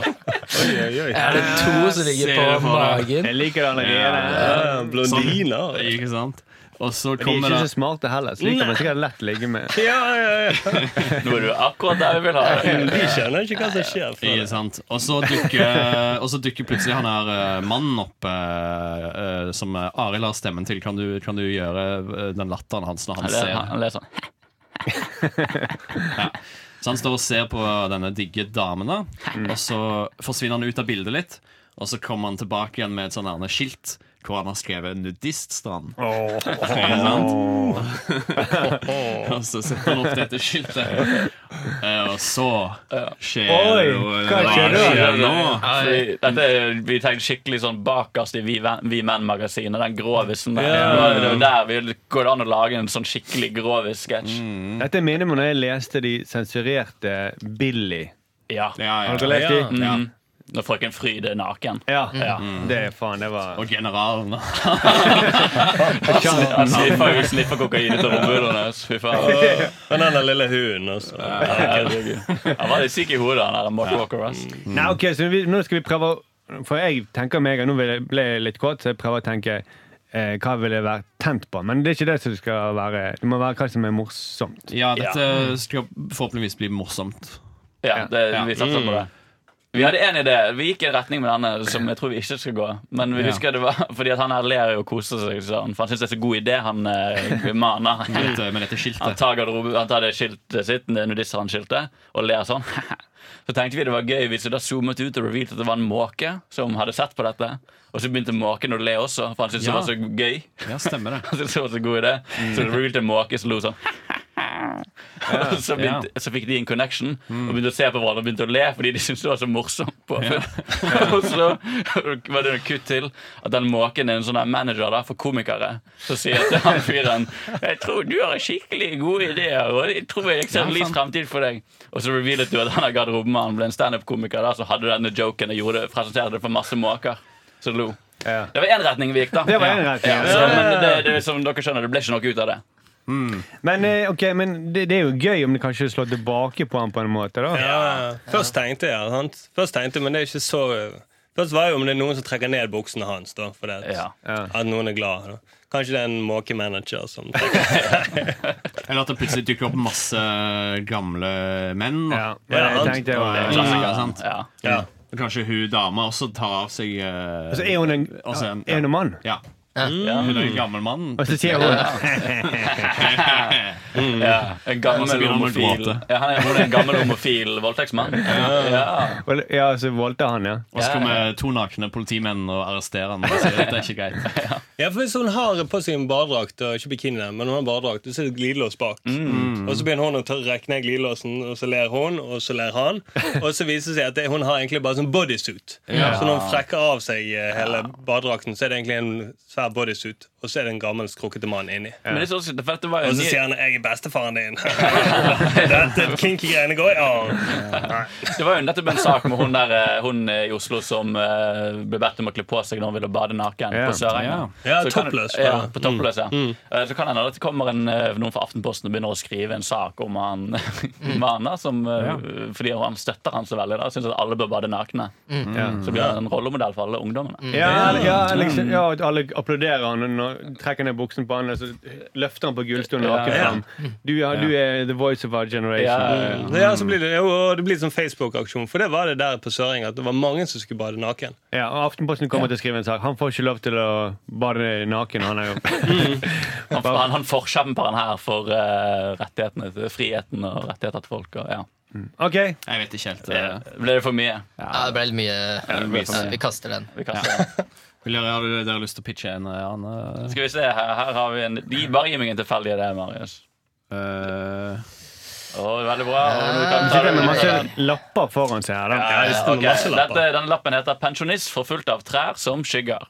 Speaker 6: Er det to som ligger
Speaker 7: Ser
Speaker 6: på
Speaker 7: du for deg?
Speaker 6: magen?
Speaker 5: Jeg liker det allerede.
Speaker 3: Ja, Blondiner.
Speaker 7: (laughs) Ikke sant? Og så
Speaker 5: De er
Speaker 7: kommer
Speaker 5: ikke
Speaker 7: det
Speaker 5: så smarte heller. Slik kan man sikkert lett ligge med.
Speaker 3: Ja, ja, ja.
Speaker 2: Nå er du akkurat der vi vil ha deg.
Speaker 3: De skjønner ikke hva som skjer. For
Speaker 7: Ikke
Speaker 3: det.
Speaker 7: sant? Og så dukker,
Speaker 5: (laughs)
Speaker 7: og så dukker plutselig han her eh, mannen opp, eh, eh, som eh, Arild har stemmen til. Kan du, kan du gjøre eh, den latteren hans når han
Speaker 2: Han ler-
Speaker 7: ser
Speaker 2: Han ler sånn.
Speaker 7: Så han står og ser på denne digge damen, da. Og så forsvinner han ut av bildet litt. Og så kommer han tilbake igjen med et sånn her skilt hvor han har skrevet 'Nudiststrand'. Ikke sant? (laughs) og så setter han opp dette
Speaker 5: (laughs)
Speaker 7: skiltet. Eh, Og så skjer
Speaker 5: Oi,
Speaker 7: jo-
Speaker 5: hva skjer da?
Speaker 7: nå?
Speaker 2: Fordi Dette er, vi tenkte skikkelig sånn bakerst i Vi, Ven- vi Menn-magasinet. Den grovisen der.
Speaker 3: Ja.
Speaker 2: Det var der vi går det an å lage en sånn skikkelig grovis sketsj.
Speaker 5: Dette minner meg om da jeg leste de sensurerte Billy.
Speaker 2: Ja.
Speaker 7: Ja, ja.
Speaker 5: Har dere lest de?
Speaker 2: Mm. Når frøken Fryd er naken.
Speaker 5: Ja. Mm.
Speaker 2: Ja.
Speaker 5: Det er faen, det var
Speaker 7: Og generalen, da.
Speaker 2: (laughs) Han sniffer jo sniffer kokain ut av rumpehullene. hennes. Fy faen.
Speaker 3: Men den der lille hunden også.
Speaker 2: Herregud. Han var litt syk i hodet, han der Mark Walker. ass.
Speaker 5: Nei, ok, så vi, nå skal vi prøve å- For jeg tenker meg, og nå ble jeg- ble jeg litt kåt, så jeg prøver å tenke eh, hva ville jeg vært tent på. Men det er ikke det som skal være Det må være hva som er morsomt.
Speaker 7: Ja, dette skal forhåpentligvis bli morsomt.
Speaker 2: Ja, det,
Speaker 7: Ja.
Speaker 2: vi satser på det. Vi hadde en idé. Vi gikk i en retning med denne som jeg tror vi ikke skal gå. Men vi
Speaker 7: Ja.
Speaker 2: husker det var fordi at han her ler jo og koser seg sånn. For han syns det er så god idé, han
Speaker 7: (laughs)
Speaker 2: eh, maner.
Speaker 7: Med dette, med dette
Speaker 2: Han
Speaker 7: skiltet.
Speaker 2: tar, garderobe, han tar det skiltet sitt, det nudiststrandskiltet, og ler sånn. (laughs) Så tenkte vi det var gøy hvis vi da zoomet ut og revealte at det var en måke som hadde sett på dette. Og så begynte måken å le også, for han syntes
Speaker 7: Ja.
Speaker 2: det var så gøy.
Speaker 7: Ja, stemmer det.
Speaker 2: Han syntes det var (laughs) så god idé. Så det revealte en måke som lo
Speaker 5: (laughs)
Speaker 2: sånn. Og så, begynte, så fikk de en connection
Speaker 5: Mm.
Speaker 2: og begynte å se på hverandre og begynte å le fordi de syntes det var så morsomt. På. (laughs) og så var det en kutt til at den måken er en sånn her manager da, for komikere. Så sier jeg til han fyren Jeg tror du har skikkelig gode ideer, og jeg tror jeg ser en lys fremtid for deg. Og så revealet du at han der garderobemannen ble en standup-komiker da, som hadde denne joken og gjorde, det- presenterte det for masse måker som lo.
Speaker 5: Ja.
Speaker 2: Det var én retning vi gikk, da.
Speaker 5: Det var en retning,
Speaker 2: Ja,
Speaker 5: ja.
Speaker 2: så, men det, det, som dere skjønner, det ble ikke noe ut av det.
Speaker 5: Men, eh, ok, men det, det er jo gøy om det kanskje slår tilbake på han på en måte, da.
Speaker 3: Ja, først tenkte jeg, sant? Først tenkte jeg, men det er ikke så Først var jo om det er noen som trekker ned buksene hans. Da, for det, at-
Speaker 2: Ja.
Speaker 3: At noen er glad. Da. Kanskje det er en måkemanager som trekker
Speaker 7: Eller at det plutselig dukker opp masse gamle menn. da.
Speaker 5: Ja, men jeg tenkte,
Speaker 7: Ja,
Speaker 5: jo-
Speaker 7: klassiker,
Speaker 2: Ja,
Speaker 7: sant?
Speaker 2: Ja.
Speaker 3: ja.
Speaker 7: Og Kanskje hun dama også tar av seg eh,
Speaker 5: Og Altså, så er hun en,
Speaker 7: også en-
Speaker 5: er hun en mann.
Speaker 7: Ja. Hun er en gammel mann.
Speaker 5: Og så sier hun
Speaker 2: Ja, en gammel
Speaker 7: Og så begynner han å
Speaker 2: homofil
Speaker 7: gråte.
Speaker 2: ja, han er, Hun er en gammel homofil voldtektsmann. Ja.
Speaker 5: og- Ja, så voldtar han, ja.
Speaker 7: Og så kommer to nakne politimenn og arresterer han. Og sier, Dette er ikke greit.
Speaker 3: ja, for Hvis hun har på seg en badedrakt, og ikke bikini, da, men hun har badedrakt, og så er det glidelås bak, og så begynner hun å ta- rekke ned glidelåsen, og så ler hun, og så ler han, og så viser det seg at det, hun har egentlig bare sånn bodysuit. Så når hun frekker av seg eh, hele badedrakten, så er det egentlig en svær bodysuit, og så er det en gammel, skrukkete mann inni.
Speaker 2: Men det er så, for dette var jo
Speaker 3: Og så
Speaker 2: ny-
Speaker 3: sier han 'jeg er bestefaren din'. (laughs) Dette kinky-greiene går jo
Speaker 2: Det var jo nettopp en sak med hun der eh, Hun eh, i Oslo som eh, ble bedt om å kle på seg når hun ville bade naken
Speaker 5: Ja.
Speaker 2: på Sørenga.
Speaker 3: Ja,
Speaker 2: Så kan-
Speaker 3: toppløs.
Speaker 2: Ja, på toppløs, ja. Eh, Så kan hende at det kommer en, eh, noen fra Aftenposten og begynner å skrive en sak om han, (laughs) om han da, som, eh, fordi han støtter han så veldig. da Syns at alle bør bade nakne. Så blir han en rollemodell for alle ungdommene.
Speaker 5: Ja, ja, liksom, ja, at alle applauderer han og når- trekker ned buksen på han, og så løfter han på gullstolen og naken
Speaker 2: Ja.
Speaker 5: fram. Du, ja, du er the voice of our generation.
Speaker 2: Ja,
Speaker 3: Så Ja, så blir det, jo, og det blir sånn Facebook-aksjon, for det var det der på Søring at det var mange som skulle bade naken.
Speaker 5: Ja, og Aftenposten kommer til å skrive en sak. Han får ikke lov til å bade naken. Han er jo
Speaker 2: Han, han, han forkjemperen her for eh, rettighetene til friheten og rettigheter til folk. Og, ja.
Speaker 5: Ok,
Speaker 7: Jeg vet ikke helt. eh,
Speaker 2: det, ble det for mye?
Speaker 6: Ja, det ble litt mye.
Speaker 2: Det ble for
Speaker 6: Ja,
Speaker 2: mye.
Speaker 6: vi kaster den.
Speaker 2: Vi kaster det.
Speaker 7: vil dere, har dere lyst til å pitche en eh, annen?
Speaker 2: Skal vi se her, her har vi en de, Bare gi meg en tilfeldig idé, Marius.
Speaker 7: eh,
Speaker 2: Å, veldig bra. Og nå kan vi ta
Speaker 5: Sitter
Speaker 2: det
Speaker 5: med
Speaker 2: videre.
Speaker 5: masse lapper foran seg her.
Speaker 3: Ja,
Speaker 5: da.
Speaker 3: det står
Speaker 2: Ok,
Speaker 3: masse
Speaker 2: Dette,
Speaker 3: lapper.
Speaker 2: denne lappen heter 'Pensjonist forfulgt av trær som skygger'.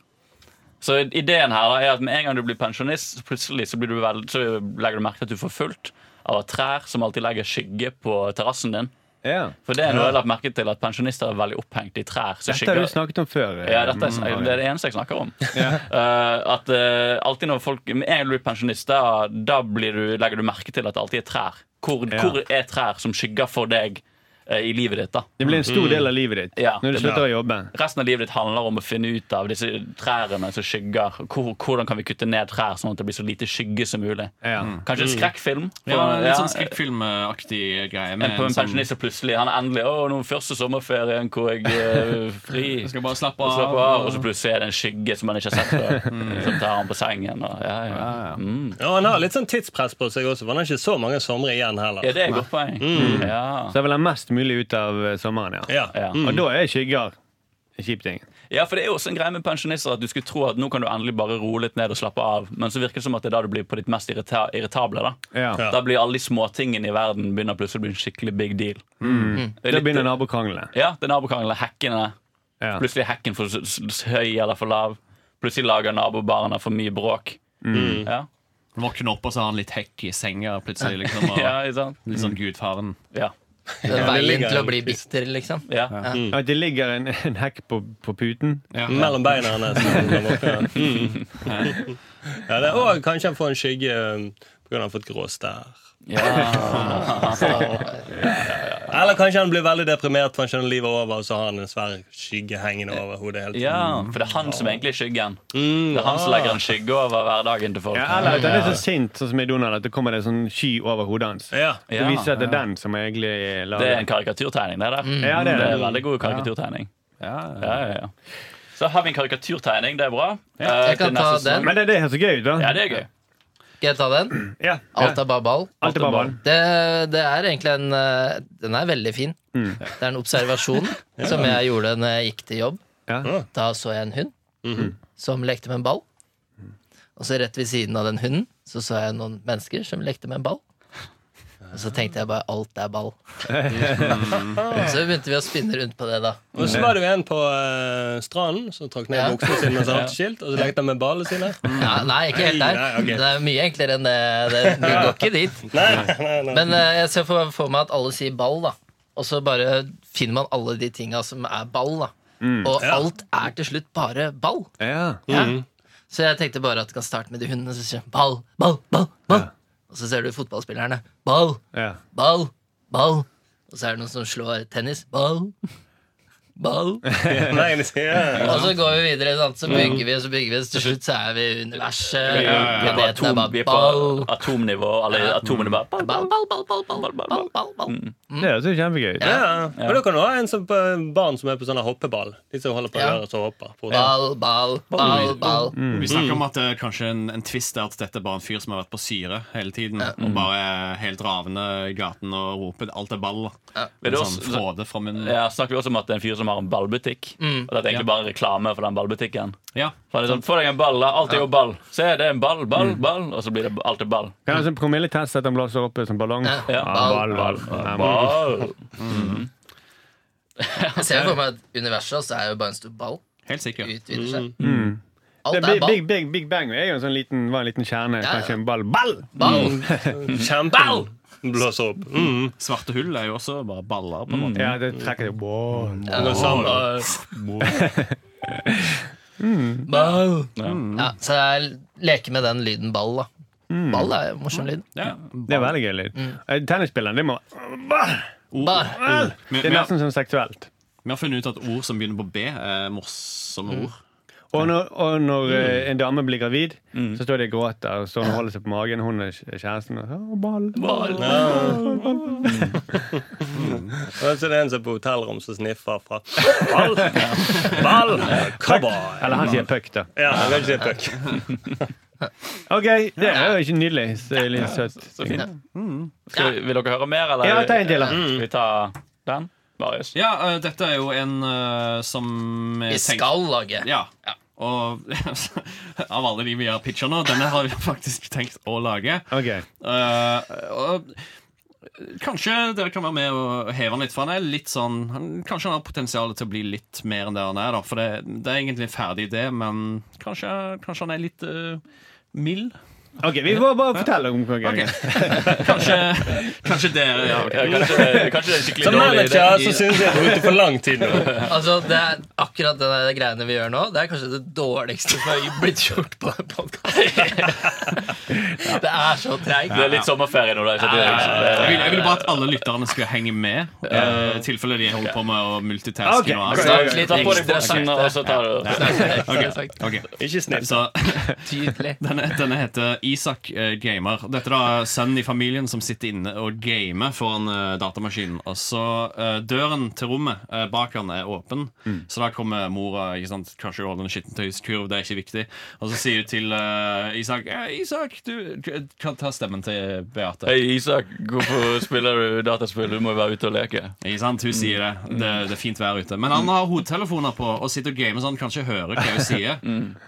Speaker 2: Så ideen her da er at med en gang du blir pensjonist, så plutselig så, blir du vel, så legger du merke til at du får fulgt av trær som alltid legger skygge på terrassen din.
Speaker 5: Ja.
Speaker 2: For det er noe jeg har lagt merke til at pensjonister er veldig opphengt i trær. som
Speaker 5: Dette har
Speaker 2: skygger.
Speaker 5: du snakket om før.
Speaker 2: Ja,
Speaker 7: Eh,
Speaker 2: dette
Speaker 7: mm,
Speaker 2: er, snak- det er det eneste jeg snakker om. (laughs) Eh, at eh, alltid når folk Med en gang du blir pensjonist, da, da blir du, legger du merke til at det alltid er trær. Hvor, hvor er trær som skygger for deg eh, i livet ditt, da?
Speaker 5: Det blir en stor del av livet ditt
Speaker 2: Ja,
Speaker 5: når du
Speaker 2: det
Speaker 5: slutter å jobbe.
Speaker 2: Resten av livet ditt handler om å finne ut av disse trærne som skygger. Hvor, hvordan kan vi kutte ned trær sånn at det blir så lite skygge som mulig?
Speaker 5: Ja.
Speaker 2: Kanskje en skrekkfilm?
Speaker 7: Mm. Ja, litt sånn
Speaker 2: Ja,
Speaker 7: skrekkfilmaktig greie.
Speaker 2: en,
Speaker 7: Med
Speaker 2: på en
Speaker 7: sånn-
Speaker 2: pensjonist som plutselig Han er endelig Å, nå er første sommerferien hvor jeg er fri.
Speaker 7: Jeg skal bare slappe
Speaker 2: Og
Speaker 7: av.
Speaker 2: slappe av, og så plutselig er det en skygge som man ikke har sett før. Mm. Som tar han på sengen. Og, ja, ja. Mm.
Speaker 3: Ja, han har litt sånn tidspress på seg også, for han har ikke så mange somre igjen heller.
Speaker 2: ja, det er et godt poeng. Mm. Ja.
Speaker 5: Så jeg vil ha mest mulig ut av eh, sommeren, ja.
Speaker 3: Ja.
Speaker 2: Ja.
Speaker 5: Og da er skygger en kjip ting.
Speaker 2: ja, for det er jo også en greie med pensjonister at du skulle tro at nå kan du endelig bare roe litt ned og slappe av, men så virker det som at det er da du blir på ditt mest irrita irritable. da
Speaker 5: Ja.
Speaker 3: Ja.
Speaker 2: Da blir alle de småtingene i verden begynner plutselig å bli en skikkelig big deal. Det er
Speaker 5: Da
Speaker 2: litt- eh,
Speaker 5: begynner nabokranglene.
Speaker 2: Ja, det er nabokranglene, hekkene.
Speaker 5: Ja.
Speaker 2: Plutselig er hekken for s- s- høy eller for lav. Plutselig lager nabobarna for mye bråk. Ja.
Speaker 7: Våkne opp, og så har han litt hekk i senga plutselig. Liksom, (laughs) og
Speaker 2: Ja, ikke sant?
Speaker 7: Litt sånn gudfaren.
Speaker 2: Ja.
Speaker 6: Det er veien
Speaker 3: ligger
Speaker 6: til å
Speaker 3: en
Speaker 6: bli
Speaker 3: twist.
Speaker 6: bitter, liksom.
Speaker 2: Ja.
Speaker 5: At det ligger en, en hekk på, på puten.
Speaker 3: Mellom beina hans. Mm. (laughs) Ja, det er også kanskje han får en skygge um, på grunn av han har fått grå stær. Eller kanskje han blir veldig deprimert for han skjønner livet er over, og så har han en svær skygge hengende over hodet hele tiden.
Speaker 2: ja, For det er han som egentlig er skyggen. Det er han som legger en skygge over hverdagen til folk.
Speaker 5: Ja, eller at han er så sint, sånn som i Donald, at det kommer en sånn sky over hodet hans.
Speaker 3: Ja.
Speaker 5: Det
Speaker 2: Ja.
Speaker 5: viser at det er den som egentlig
Speaker 2: Det er en
Speaker 5: lager
Speaker 2: karikaturtegning, det der.
Speaker 5: Ja, det er
Speaker 2: Det er en
Speaker 5: det.
Speaker 2: veldig god karikaturtegning. Ja, ja, ja. Så har vi en karikaturtegning, det er bra. Eh,
Speaker 6: Jeg
Speaker 2: til
Speaker 6: kan ta
Speaker 2: neste sesong.
Speaker 6: den.
Speaker 5: Men det er det som er så gøy ut, da.
Speaker 2: Ja, det er gøy.
Speaker 6: Skal jeg ta den?
Speaker 5: Ja.
Speaker 6: Alt er bare ball.
Speaker 5: Alt er bare ball.
Speaker 6: Det, det er egentlig en eh, Den er veldig fin. Det er en observasjon som jeg gjorde når jeg gikk til jobb.
Speaker 5: Ja.
Speaker 6: Da så jeg en hund som lekte med en ball. Og så rett ved siden av den hunden så så jeg noen mennesker som lekte med en ball. Og så tenkte jeg bare alt er ball. Og så begynte vi å spinne rundt på det, da.
Speaker 3: Og så var det jo en på eh, stranden som trakk ned
Speaker 6: Ja. Mm.
Speaker 3: buksene sine med saltskilt, og så lekte han med ballene sine.
Speaker 6: Ja, nei, ikke helt der.
Speaker 3: Nei, ok.
Speaker 6: Det er mye enklere enn det. det vi går ikke dit.
Speaker 3: Nei, nei, nei.
Speaker 6: Men eh, jeg ser for, for meg at alle sier ball, da. Og så bare finner man alle de tinga som er ball, da. Og
Speaker 3: Mm. Ja.
Speaker 6: alt er til slutt bare ball.
Speaker 5: Ja.
Speaker 6: Ja. Så jeg tenkte bare at jeg kan starte med de hundene som sier ball, ball, ball. ball. Og så ser du fotballspillerne. Ball,
Speaker 5: Ja.
Speaker 6: ball, ball. Og så er det noen som slår tennis. Ball, ball.
Speaker 3: nei, nei, ja.
Speaker 6: Og så går vi videre, sant? så bygger vi og så bygger vi. Så til slutt så er vi i universet.
Speaker 2: Vi er på,
Speaker 6: Planeten er
Speaker 2: atom,
Speaker 6: bare
Speaker 2: vi er på
Speaker 6: ball.
Speaker 2: atomnivå. Alle atomene bare ball,
Speaker 6: Ball, ball, ball, ball, ball, ball, ball, ball.
Speaker 5: Det høres jo kjempegøy ut.
Speaker 6: Ja.
Speaker 3: Ja. Og da kan du ha en som, eh, barn som er på sånne hoppeball. De som holder på å
Speaker 6: Ja.
Speaker 3: gjøre så hopper. På
Speaker 6: Ball, ball, ball, ball.
Speaker 7: Vi snakker om at eh, kanskje en, en twist er at dette er bare en fyr som har vært på syre hele tiden. Og bare er helt ravende i gaten og roper 'alt er ball'.
Speaker 2: Vil
Speaker 7: En
Speaker 2: du
Speaker 7: sånn
Speaker 2: også-
Speaker 7: fråde fra munnen. Ja.
Speaker 2: Ja, snakker vi også om at det er en fyr som har en ballbutikk.
Speaker 6: Mm.
Speaker 2: Og det er egentlig bare reklame for den ballbutikken. For det er sånn, Få deg en ball, da. Alt er jo ball. Se, det er en ball, ball, ball. Og så blir det alt er ball.
Speaker 5: Kan jeg ha sånn promilletest at han blåser opp som ballong?
Speaker 6: Ja.
Speaker 5: ball, ball. Ja, ball.
Speaker 2: Ball.
Speaker 6: Jeg ser for meg at universet også er jo bare en stor ball.
Speaker 7: Helt sikker.
Speaker 6: Utvider seg.
Speaker 5: Det
Speaker 6: Alt
Speaker 5: er
Speaker 6: er
Speaker 5: Big,
Speaker 6: ball.
Speaker 5: Big, Big, Big Bang er jo en sånn liten, var en liten kjerne.
Speaker 6: Ja, ja.
Speaker 5: Kanskje en ball. Ball!
Speaker 6: Ball.
Speaker 3: Kjempeball! Blåser opp. Mm.
Speaker 7: Svarte hull er jo også bare baller. på en måte
Speaker 5: Ja, det trekker det. Ball.
Speaker 3: Går sammen.
Speaker 6: (laughs) Ball. Ja, så jeg leker med den lyden ball, da. Ball er jo en morsom lyd.
Speaker 7: Ja.
Speaker 5: Det er veldig gøy lyd.
Speaker 2: Mm.
Speaker 5: Eh, Tennisspilleren, det må Ball!
Speaker 6: Ball.
Speaker 7: Vi,
Speaker 5: Det er
Speaker 7: vi, har,
Speaker 5: nesten sånn seksuelt.
Speaker 7: vi har funnet ut at ord som begynner på B, er morsomme ord.
Speaker 5: Og når, og
Speaker 2: Mm.
Speaker 5: når eh, en dame blir gravid, så står de og gråter, og står og holder seg på magen, hun er kj- kjæresten, og så, ball.
Speaker 3: Og så er det en som er på hotellrom som sniffer fra Ball! Ball! Cowboy!
Speaker 5: Eller han sier puck, da.
Speaker 3: Ja, jeg vet ikke puck.
Speaker 5: OK, det er jo ikke nydelig. Så det er litt søtt.
Speaker 2: fint. Skal, vi- vil dere høre mer, eller?
Speaker 5: Mm.
Speaker 2: Mm.
Speaker 5: Ja, ta en til, da.
Speaker 2: Skal vi ta den? Marius?
Speaker 7: Ja, eh, dette er jo en eh, som
Speaker 6: Vi
Speaker 7: jeg tenker-
Speaker 6: skal lage.
Speaker 7: Ja. Og (laughs) av alle de vi (laughs) har pitcha nå, denne har vi faktisk tenkt å lage.
Speaker 5: Ok.
Speaker 7: Eh, og Kanskje dere kan være med og heve han litt, for han er litt sånn han, Kanskje han har potensial til å bli litt mer enn det han er, da. For det, det er egentlig en ferdig idé, men kanskje, kanskje han er litt eh, mild?
Speaker 5: Ok, Vi må bare fortelle om konkurransen.
Speaker 7: Kanskje, (laughs) kanskje dere ja, ok.
Speaker 2: Ja, (laughs) kanskje, det- kanskje det er en skikkelig
Speaker 3: Som
Speaker 2: dårlig idé.
Speaker 3: manager så syns jeg jeg har brukt det for lang tid nå.
Speaker 6: Altså, det er Akkurat det der greiene vi gjør nå, det er kanskje det dårligste som har blitt gjort på den podkasten. (laughs) Det er så treigt.
Speaker 2: Det er litt sånn- sommerferie nå. da så det er liksom-
Speaker 7: Jeg ville vil bare at alle lytterne skulle henge med, eh, i tilfelle de holder på med å multitaske.
Speaker 5: Ah, Ok,
Speaker 7: nå,
Speaker 5: ok,
Speaker 7: altså.
Speaker 2: Ta ta på deg
Speaker 6: Ekstra
Speaker 2: boksen, og så tar du
Speaker 6: (laughs)
Speaker 7: Ok, ok.
Speaker 3: Ikke snill.
Speaker 7: Så (laughs)
Speaker 6: Tydelig.
Speaker 7: denne, denne heter Isak eh, Gamer. Dette er da sønnen i familien som sitter inne og gamer foran eh, datamaskinen. Og så eh, Døren til rommet eh, bak han er åpen, så da kommer mora. ikke sant, Kanskje hun holder en skittentøyskurv, det er ikke viktig. Og så sier hun til eh, Isak eh, Isak, du du kan ta stemmen til Beate.
Speaker 2: Hei, Isak, hvorfor spiller du dataspill? Du må jo være ute og leke.
Speaker 7: Ikke sant? Hun sier det. det. Det er fint vær ute. Men han har hodetelefoner på og sitter og gamer så han kan ikke høre hva hun sier.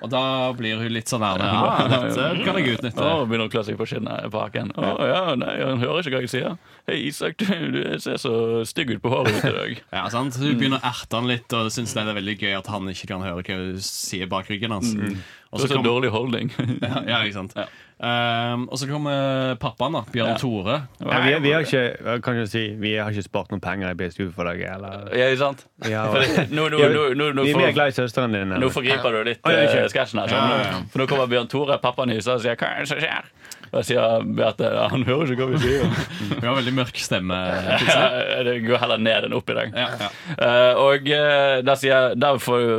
Speaker 7: Og da blir hun litt sånn der Ja, dette kan jeg utnytte.
Speaker 2: Å, begynner å klø seg på skinnet på haken. Å ja, nei, han hører ikke hva jeg sier. Hei, Isak, du, du ser så stygg ut på håret ditt i dag.
Speaker 7: Ja, sant?
Speaker 2: Mm.
Speaker 7: Hun begynner å erte han litt og syns det er veldig gøy at han ikke kan høre hva hun sier bak ryggen hans. Og
Speaker 2: Du har (laughs) Mm. så
Speaker 7: så kommer-
Speaker 2: dårlig holdning.
Speaker 7: (laughs) ja, ikke sant? Ehm, og så kommer pappaen, da. Bjørn Tore.
Speaker 5: Ja, vi, vi har ikke eh, kan jeg si, vi har ikke spart noen penger i BSU for deg. Eller?
Speaker 2: (laughs) Ja, ikke sant?
Speaker 5: Ja,
Speaker 2: For det-
Speaker 5: (laughs)
Speaker 2: Nå nå-
Speaker 5: Ja,
Speaker 2: nå- nå- nå
Speaker 5: vi er mer
Speaker 2: får-
Speaker 5: glad i søsteren din.
Speaker 2: Nå
Speaker 5: enn-
Speaker 2: forgriper du litt
Speaker 5: Oi, oi,
Speaker 2: eh,
Speaker 5: oi.
Speaker 2: sketsjen her. skjønner du? For nå kommer Bjørn Tore, pappaen i USA, og sier 'hva er det som skjer?' Og jeg sier Beate ja,
Speaker 7: (laughs)
Speaker 2: 'han hører ikke hva vi sier'.
Speaker 7: Hun har veldig mørk stemme.
Speaker 2: Ja, eh, det går heller ned enn opp i dag.
Speaker 7: Ja, ja.
Speaker 2: Eh, og eh, der, sier, der får jo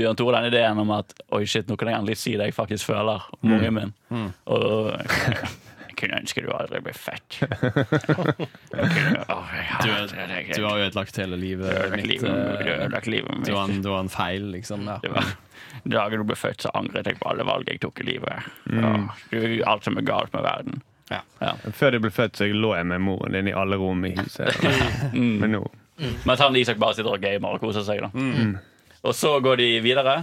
Speaker 2: Bjørn Tore den ideen om at 'oi, shit, nå kan jeg endelig si det jeg faktisk føler om ungen min'.
Speaker 7: Mm.
Speaker 2: Og (laughs) jeg kunne ønske du aldri ble
Speaker 7: (laughs)
Speaker 2: født.
Speaker 7: Du, er- du har ødelagt hele livet mitt. eh, Du har en, du har en feil, liksom. Ja.
Speaker 2: Det var (laughs) Dagen du ble født, så angret jeg på alle valg jeg tok i livet. Ja, du- alt som er galt med verden.
Speaker 7: Ja.
Speaker 5: Før de ble født, så lå jeg med moren din i alle rom i
Speaker 2: (laughs)
Speaker 5: huset.
Speaker 2: Mm.
Speaker 5: Men nå
Speaker 2: Mens han og Isak bare sitter og gamer og koser seg. da Og så går de videre.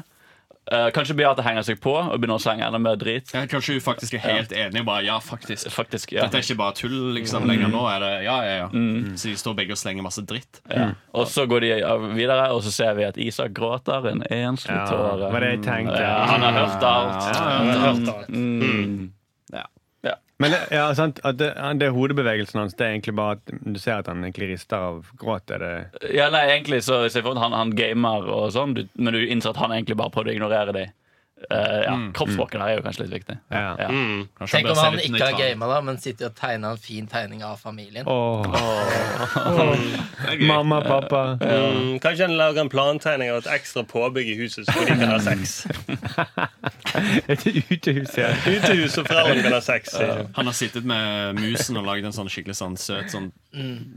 Speaker 2: Eh, kanskje Beate henger seg på og begynner å slenge enda mer drit.
Speaker 7: Ja, Kanskje hun faktisk er helt enig og bare ja, faktisk.
Speaker 2: Faktisk, ja.
Speaker 7: Dette er ikke bare tull liksom,
Speaker 2: Mm.
Speaker 7: lenger. Nå er det ja, ja, ja. Så de står begge og slenger masse dritt.
Speaker 2: ja. Og så går de av- videre, og så ser vi at Isak gråter en enslig
Speaker 5: ja,
Speaker 2: tåre.
Speaker 5: var det jeg tenkte.
Speaker 2: Ja, han har hørt alt. Mm.
Speaker 5: Men det, ja, sant, at det, han- det er hodebevegelsen hans. Det er egentlig bare at Du ser at han egentlig rister av gråt. Er det
Speaker 2: Ja, nei, egentlig så ser jeg for meg at han, han gamer og sånn, du, men du innser at han egentlig bare prøvde å ignorere dem. Eh, ja, Kroppsspråket der er jo kanskje litt viktig.
Speaker 5: Ja.
Speaker 2: Ja.
Speaker 7: Kanskje
Speaker 6: Tenk
Speaker 7: bør
Speaker 6: om
Speaker 7: se
Speaker 6: han
Speaker 7: litt
Speaker 6: ikke har
Speaker 7: nøytral.
Speaker 6: gama, da, men sitter og tegner en fin tegning av familien.
Speaker 5: Åh. (laughs) Mamma, pappa.
Speaker 3: Mm, kanskje han lager en plantegning av et ekstra påbygg i huset, så de kan ha sex.
Speaker 5: (laughs) Et utehus her.
Speaker 3: Utehus og foreldrene kan ha sex.
Speaker 7: Han har sittet med musen og lagd en sånn skikkelig sånn søt sånn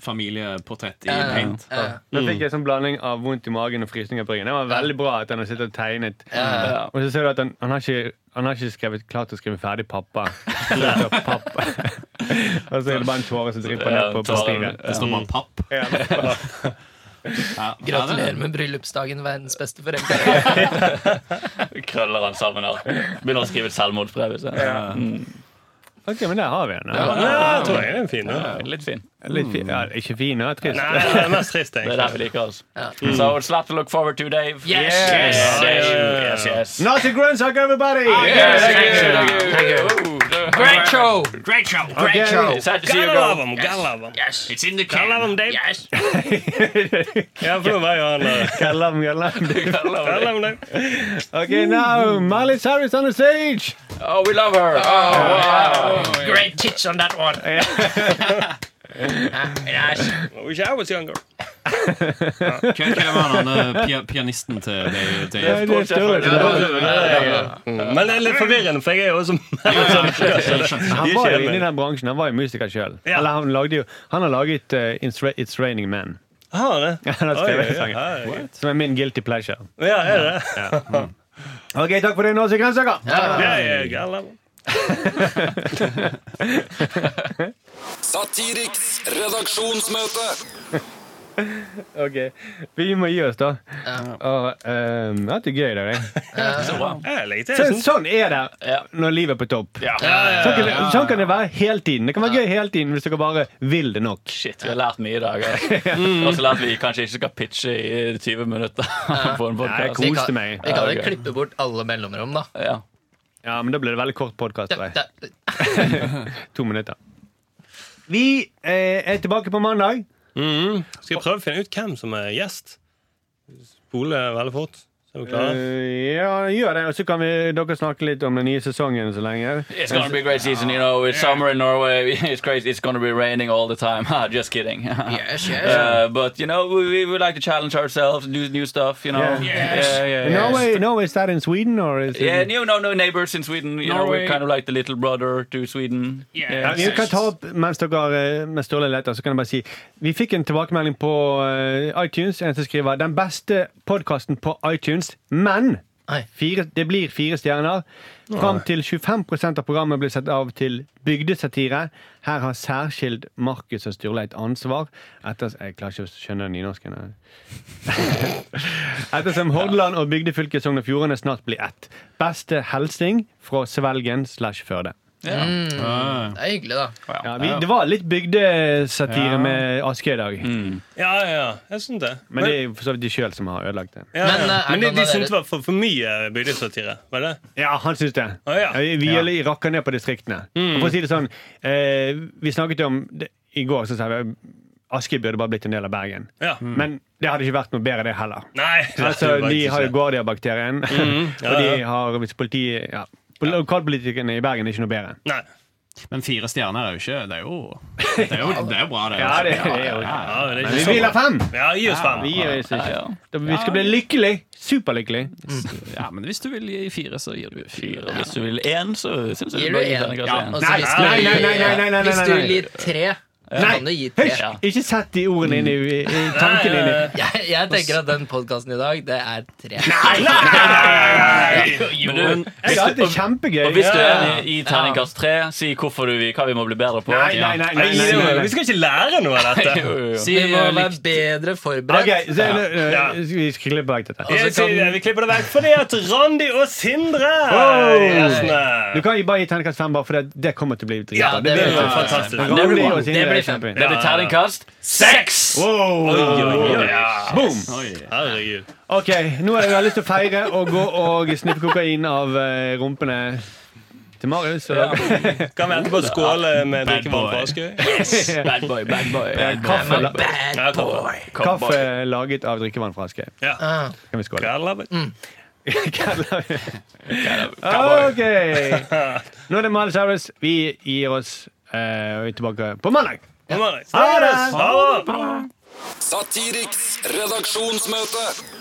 Speaker 7: familieportrett i
Speaker 6: Ja, ja,
Speaker 7: paint.
Speaker 6: ja.
Speaker 5: Da fikk jeg sånn blanding av vondt i magen og frysninger på ryggen. Det var veldig bra at han har sittet og tegnet.
Speaker 6: Ja.
Speaker 5: Og så ser du at han, han, har, ikke, han har ikke skrevet klart å skrive ferdig 'pappa'. Så det står pappa. (laughs) og så er det bare en tåre som drypper ned på
Speaker 2: Ja, tåren.
Speaker 5: papiret.
Speaker 7: Det står bare papp.
Speaker 5: Ja,
Speaker 7: Ja.
Speaker 6: Gratulerer med bryllupsdagen, verdens beste (laughs) foreldre.
Speaker 2: Krøller han sammen her. Begynner å skrive et selvmordsbrev. så. Mm,
Speaker 5: ok, men der har vi den.
Speaker 3: Ja, jeg tror jeg det er en fin. da.
Speaker 2: Litt fin.
Speaker 5: Litt fi, ja, ikke fin og trist.
Speaker 3: Nei, det er mest trist,
Speaker 2: Det er
Speaker 3: egentlig.
Speaker 2: der vi liker oss. So it's a lot to look forward to, Dave.
Speaker 6: Yes!
Speaker 2: Yes,
Speaker 3: Yeah.
Speaker 2: yes, yes.
Speaker 5: Nazi grønnsak, everybody!
Speaker 6: Great show!
Speaker 5: Okay.
Speaker 2: Sad to see you
Speaker 3: Gotta love
Speaker 2: go.
Speaker 3: him, gotta love him.
Speaker 7: It's in the
Speaker 3: Gotta love him, Dave.
Speaker 2: (laughs)
Speaker 3: Ja, for nå var jo han eh, der.
Speaker 5: Kallam, kallam.
Speaker 3: Gotta love him, Dave.
Speaker 5: Okay, now, Miley Cyrus on the stage!
Speaker 2: Oh, we love her.
Speaker 6: Great tits on that one! (laughs) Ah,
Speaker 3: I wish I was younger.
Speaker 7: Hvem hvem var han eh, pia- pianisten til Dave?
Speaker 5: Det
Speaker 7: Dave?
Speaker 5: er stort.
Speaker 3: Men det er litt forvirrende, for jeg er jo også
Speaker 5: Han
Speaker 3: Jeg
Speaker 5: var jo
Speaker 3: kjenner.
Speaker 5: inne i den bransjen, han var jo musiker sjøl.
Speaker 3: Ja.
Speaker 5: Eller han lagde jo Han har laget eh, It's Ra- It's Raining Men. (laughs)
Speaker 3: Har det?
Speaker 5: Han har skrevet
Speaker 3: Oi, oi,
Speaker 5: sangen.
Speaker 3: oi. What?
Speaker 5: Som er min guilty pleasure.
Speaker 3: Ja, er det?
Speaker 5: Ok, takk for det, Nazi grønnsaker!
Speaker 3: Ja, ja, gotta love him.
Speaker 4: Satiriks redaksjonsmøte.
Speaker 5: Ok, Vi må gi oss, da.
Speaker 6: Ja.
Speaker 5: Og, ehm, det har vært gøy i dag. jeg.
Speaker 2: Så bra.
Speaker 3: Jeg legger til
Speaker 5: Så,
Speaker 3: sånn.
Speaker 5: sånn er det
Speaker 2: Ja.
Speaker 5: når livet er på topp.
Speaker 6: Ja,
Speaker 5: Sånn kan, det, sånn kan det være hele tiden. Det kan være gøy hele tiden hvis dere bare vil det nok.
Speaker 2: Shit, vi har lært mye i (laughs) dag. Og så lært vi kanskje ikke skal pitche i 20 minutter (laughs) på en
Speaker 5: Nei,
Speaker 2: podkast.
Speaker 5: cool.
Speaker 6: Vi
Speaker 5: Koste
Speaker 6: kan,
Speaker 5: meg.
Speaker 6: vi kan jo
Speaker 2: Ja, ok.
Speaker 6: klippe bort alle mellomrom, da.
Speaker 2: Ja.
Speaker 5: Ja, men Da blir det veldig kort podkast.
Speaker 6: Det- det-
Speaker 5: To minutter. Vi eh, er tilbake på mandag.
Speaker 3: Mhm. Skal jeg prøve å finne ut hvem som er gjest? Spole veldig fort. Så er vi klare.
Speaker 5: Eh, ja, gjør det. Og så kan vi, dere snakke litt om den nye sesongen så lenge.
Speaker 2: It's gonna be a great season, you know. It's summer in Norway. (laughs) It's crazy. It's gonna be raining all the time. (laughs) Just kidding.
Speaker 6: Yes, yes.
Speaker 2: Uh, but you know, we, we would like to challenge ourselves, do new stuff. You know,
Speaker 5: Yeah.
Speaker 2: yeah, yeah, yeah.
Speaker 5: Norway, Norway, is that in Sweden? Or is it-
Speaker 2: Yeah, and you know, no neighbors in Sweden. You know,
Speaker 8: Norway.
Speaker 2: we're kind of like the little brother to Sweden.
Speaker 8: Yeah.
Speaker 5: Ja, vi kan ta opp mens dere eh, med Ståle leter, så kan jeg bare si Vi fikk en tilbakemelding på eh, iTunes. En som skriver den beste podkasten på iTunes, men
Speaker 6: Nei.
Speaker 5: fire, det blir fire stjerner. Fram til 25 av programmet blir satt av til bygdesatire. Her har særskilt Markus og Sturle et ansvar. Etter, jeg klarer ikke å skjønne nynorsken. her. (laughs) Ettersom Hordaland og bygdefylket Sogn og Fjordane snart blir ett. Beste hilsing fra Svelgen slash Førde.
Speaker 7: Ah.
Speaker 6: Det er hyggelig, da.
Speaker 5: Ja, vi, det var litt bygdesatire med Askøy i dag.
Speaker 3: Ja, ja, ja. Jeg syns det.
Speaker 5: Mm. Men det er jo for så vidt de sjøl som har ødelagt det.
Speaker 3: ja, ja.
Speaker 6: Men, eh, er
Speaker 3: men de,
Speaker 6: noen
Speaker 3: de
Speaker 6: av dere-
Speaker 3: syntes det var for, for mye eh, bygdesatire. Var det?
Speaker 5: Ja, han syns det. Eh,
Speaker 3: Å, ja. Mm.
Speaker 5: Vi gjelder- rakker ned på distriktene. Og For å si det sånn, eh, vi snakket jo om det, I går så sa vi Askøy burde bare blitt en del av Bergen.
Speaker 3: Ja.
Speaker 5: Men det hadde ikke vært noe bedre, det heller.
Speaker 3: Mm. Nei.
Speaker 5: Altså, De har jo
Speaker 3: gått
Speaker 5: Guardia-bakterien, (laughs) og
Speaker 3: Mm. ja,
Speaker 5: de
Speaker 3: ja.
Speaker 5: har hvis politiet ja. Lokalpolitikerne i Bergen er ikke noe bedre.
Speaker 3: Nei.
Speaker 7: Men fire stjerner er jo ikke Det er jo, det er jo, det er jo bra, det.
Speaker 5: Ja, (laughs) det,
Speaker 7: altså.
Speaker 5: det er jo
Speaker 3: Ja, det
Speaker 5: Men
Speaker 3: er
Speaker 5: vi
Speaker 3: ikke
Speaker 5: vil ha
Speaker 3: så
Speaker 5: fem!
Speaker 3: Ja, gi oss fem.
Speaker 5: Vi, gir oss ikke.
Speaker 2: Ja,
Speaker 5: Da- vi skal bli lykkelig. Superlykkelig.
Speaker 7: Ja, men hvis du vil gi fire, så gir du fire.
Speaker 2: Og Hvis du vil én, så syns jeg
Speaker 6: Gir du
Speaker 2: du bør gi
Speaker 6: en?
Speaker 2: terningkast én.
Speaker 6: Altså,
Speaker 5: Nei,
Speaker 6: hvis du-
Speaker 5: nei, nei, nei, nei, nei,
Speaker 6: Hvis
Speaker 5: nei,
Speaker 6: du
Speaker 5: nei.
Speaker 6: gir tre, så
Speaker 5: Nei,
Speaker 6: kan du gi tre.
Speaker 5: Hysj! Ikke sett de ordene inn i, i i tankene dine.
Speaker 6: Jeg, jeg tenker at den podkasten i dag, det er tre.
Speaker 2: Men du,
Speaker 5: Jeg har hatt det kjempegøy.
Speaker 2: og hvis du er enig i terningkast tre, si hvorfor du vil, hva vi må bli bedre på.
Speaker 5: Nei, nei, nei, nei,
Speaker 3: Nei,
Speaker 5: nei, nei,
Speaker 3: Vi
Speaker 5: nei.
Speaker 3: skal ikke lære noe av
Speaker 2: Jo,
Speaker 3: dette.
Speaker 2: jo, jo.
Speaker 6: Vi må
Speaker 7: eh,
Speaker 6: være
Speaker 7: likt.
Speaker 6: bedre
Speaker 5: Ok,
Speaker 6: forberedt.
Speaker 5: så, nå- nå-
Speaker 3: Ja.
Speaker 5: vi skal klippe vekk dette.
Speaker 3: Jeg
Speaker 6: så kan-
Speaker 3: sier Vi klipper det vekk fordi at Randi og Sindre
Speaker 5: Oh.
Speaker 3: Gjestene.
Speaker 5: Du kan jo bare gi terningkast fem, bare, for det, det kommer til å bli dritbra.
Speaker 6: Ja, det blir
Speaker 5: vet jeg.
Speaker 3: fantastisk.
Speaker 5: Men Ronny og Sindre
Speaker 6: Det blir
Speaker 5: er
Speaker 6: fem.
Speaker 5: kjempefint.
Speaker 2: Det blir terningkast seks!
Speaker 5: Wow.
Speaker 3: Ja.
Speaker 5: Boom!
Speaker 7: Oi.
Speaker 3: Herregud.
Speaker 5: Ok, nå har jeg lyst til å feire og gå og sniffe kokain av eh, rumpene til Marius. Og,
Speaker 3: Kan vi etterpå skåle med
Speaker 7: Bad
Speaker 3: drikkevann fra
Speaker 7: boy. (laughs)
Speaker 3: Askøy?
Speaker 2: Bad boy, bad boy. Bad boy.
Speaker 5: kaffe, la,
Speaker 6: Bad.
Speaker 3: Ja, kaffe.
Speaker 5: kaffe laget av drikkevann fra Askøy.
Speaker 3: Ja.
Speaker 6: Ah,
Speaker 5: Kan vi (laughs) skåle?
Speaker 3: Kaffe.
Speaker 5: Ok! Nå er det Miles Harris. Vi gir oss eh, og er tilbake på mandag.
Speaker 3: Ha det! Ha det!
Speaker 4: Satiriks redaksjonsmøte.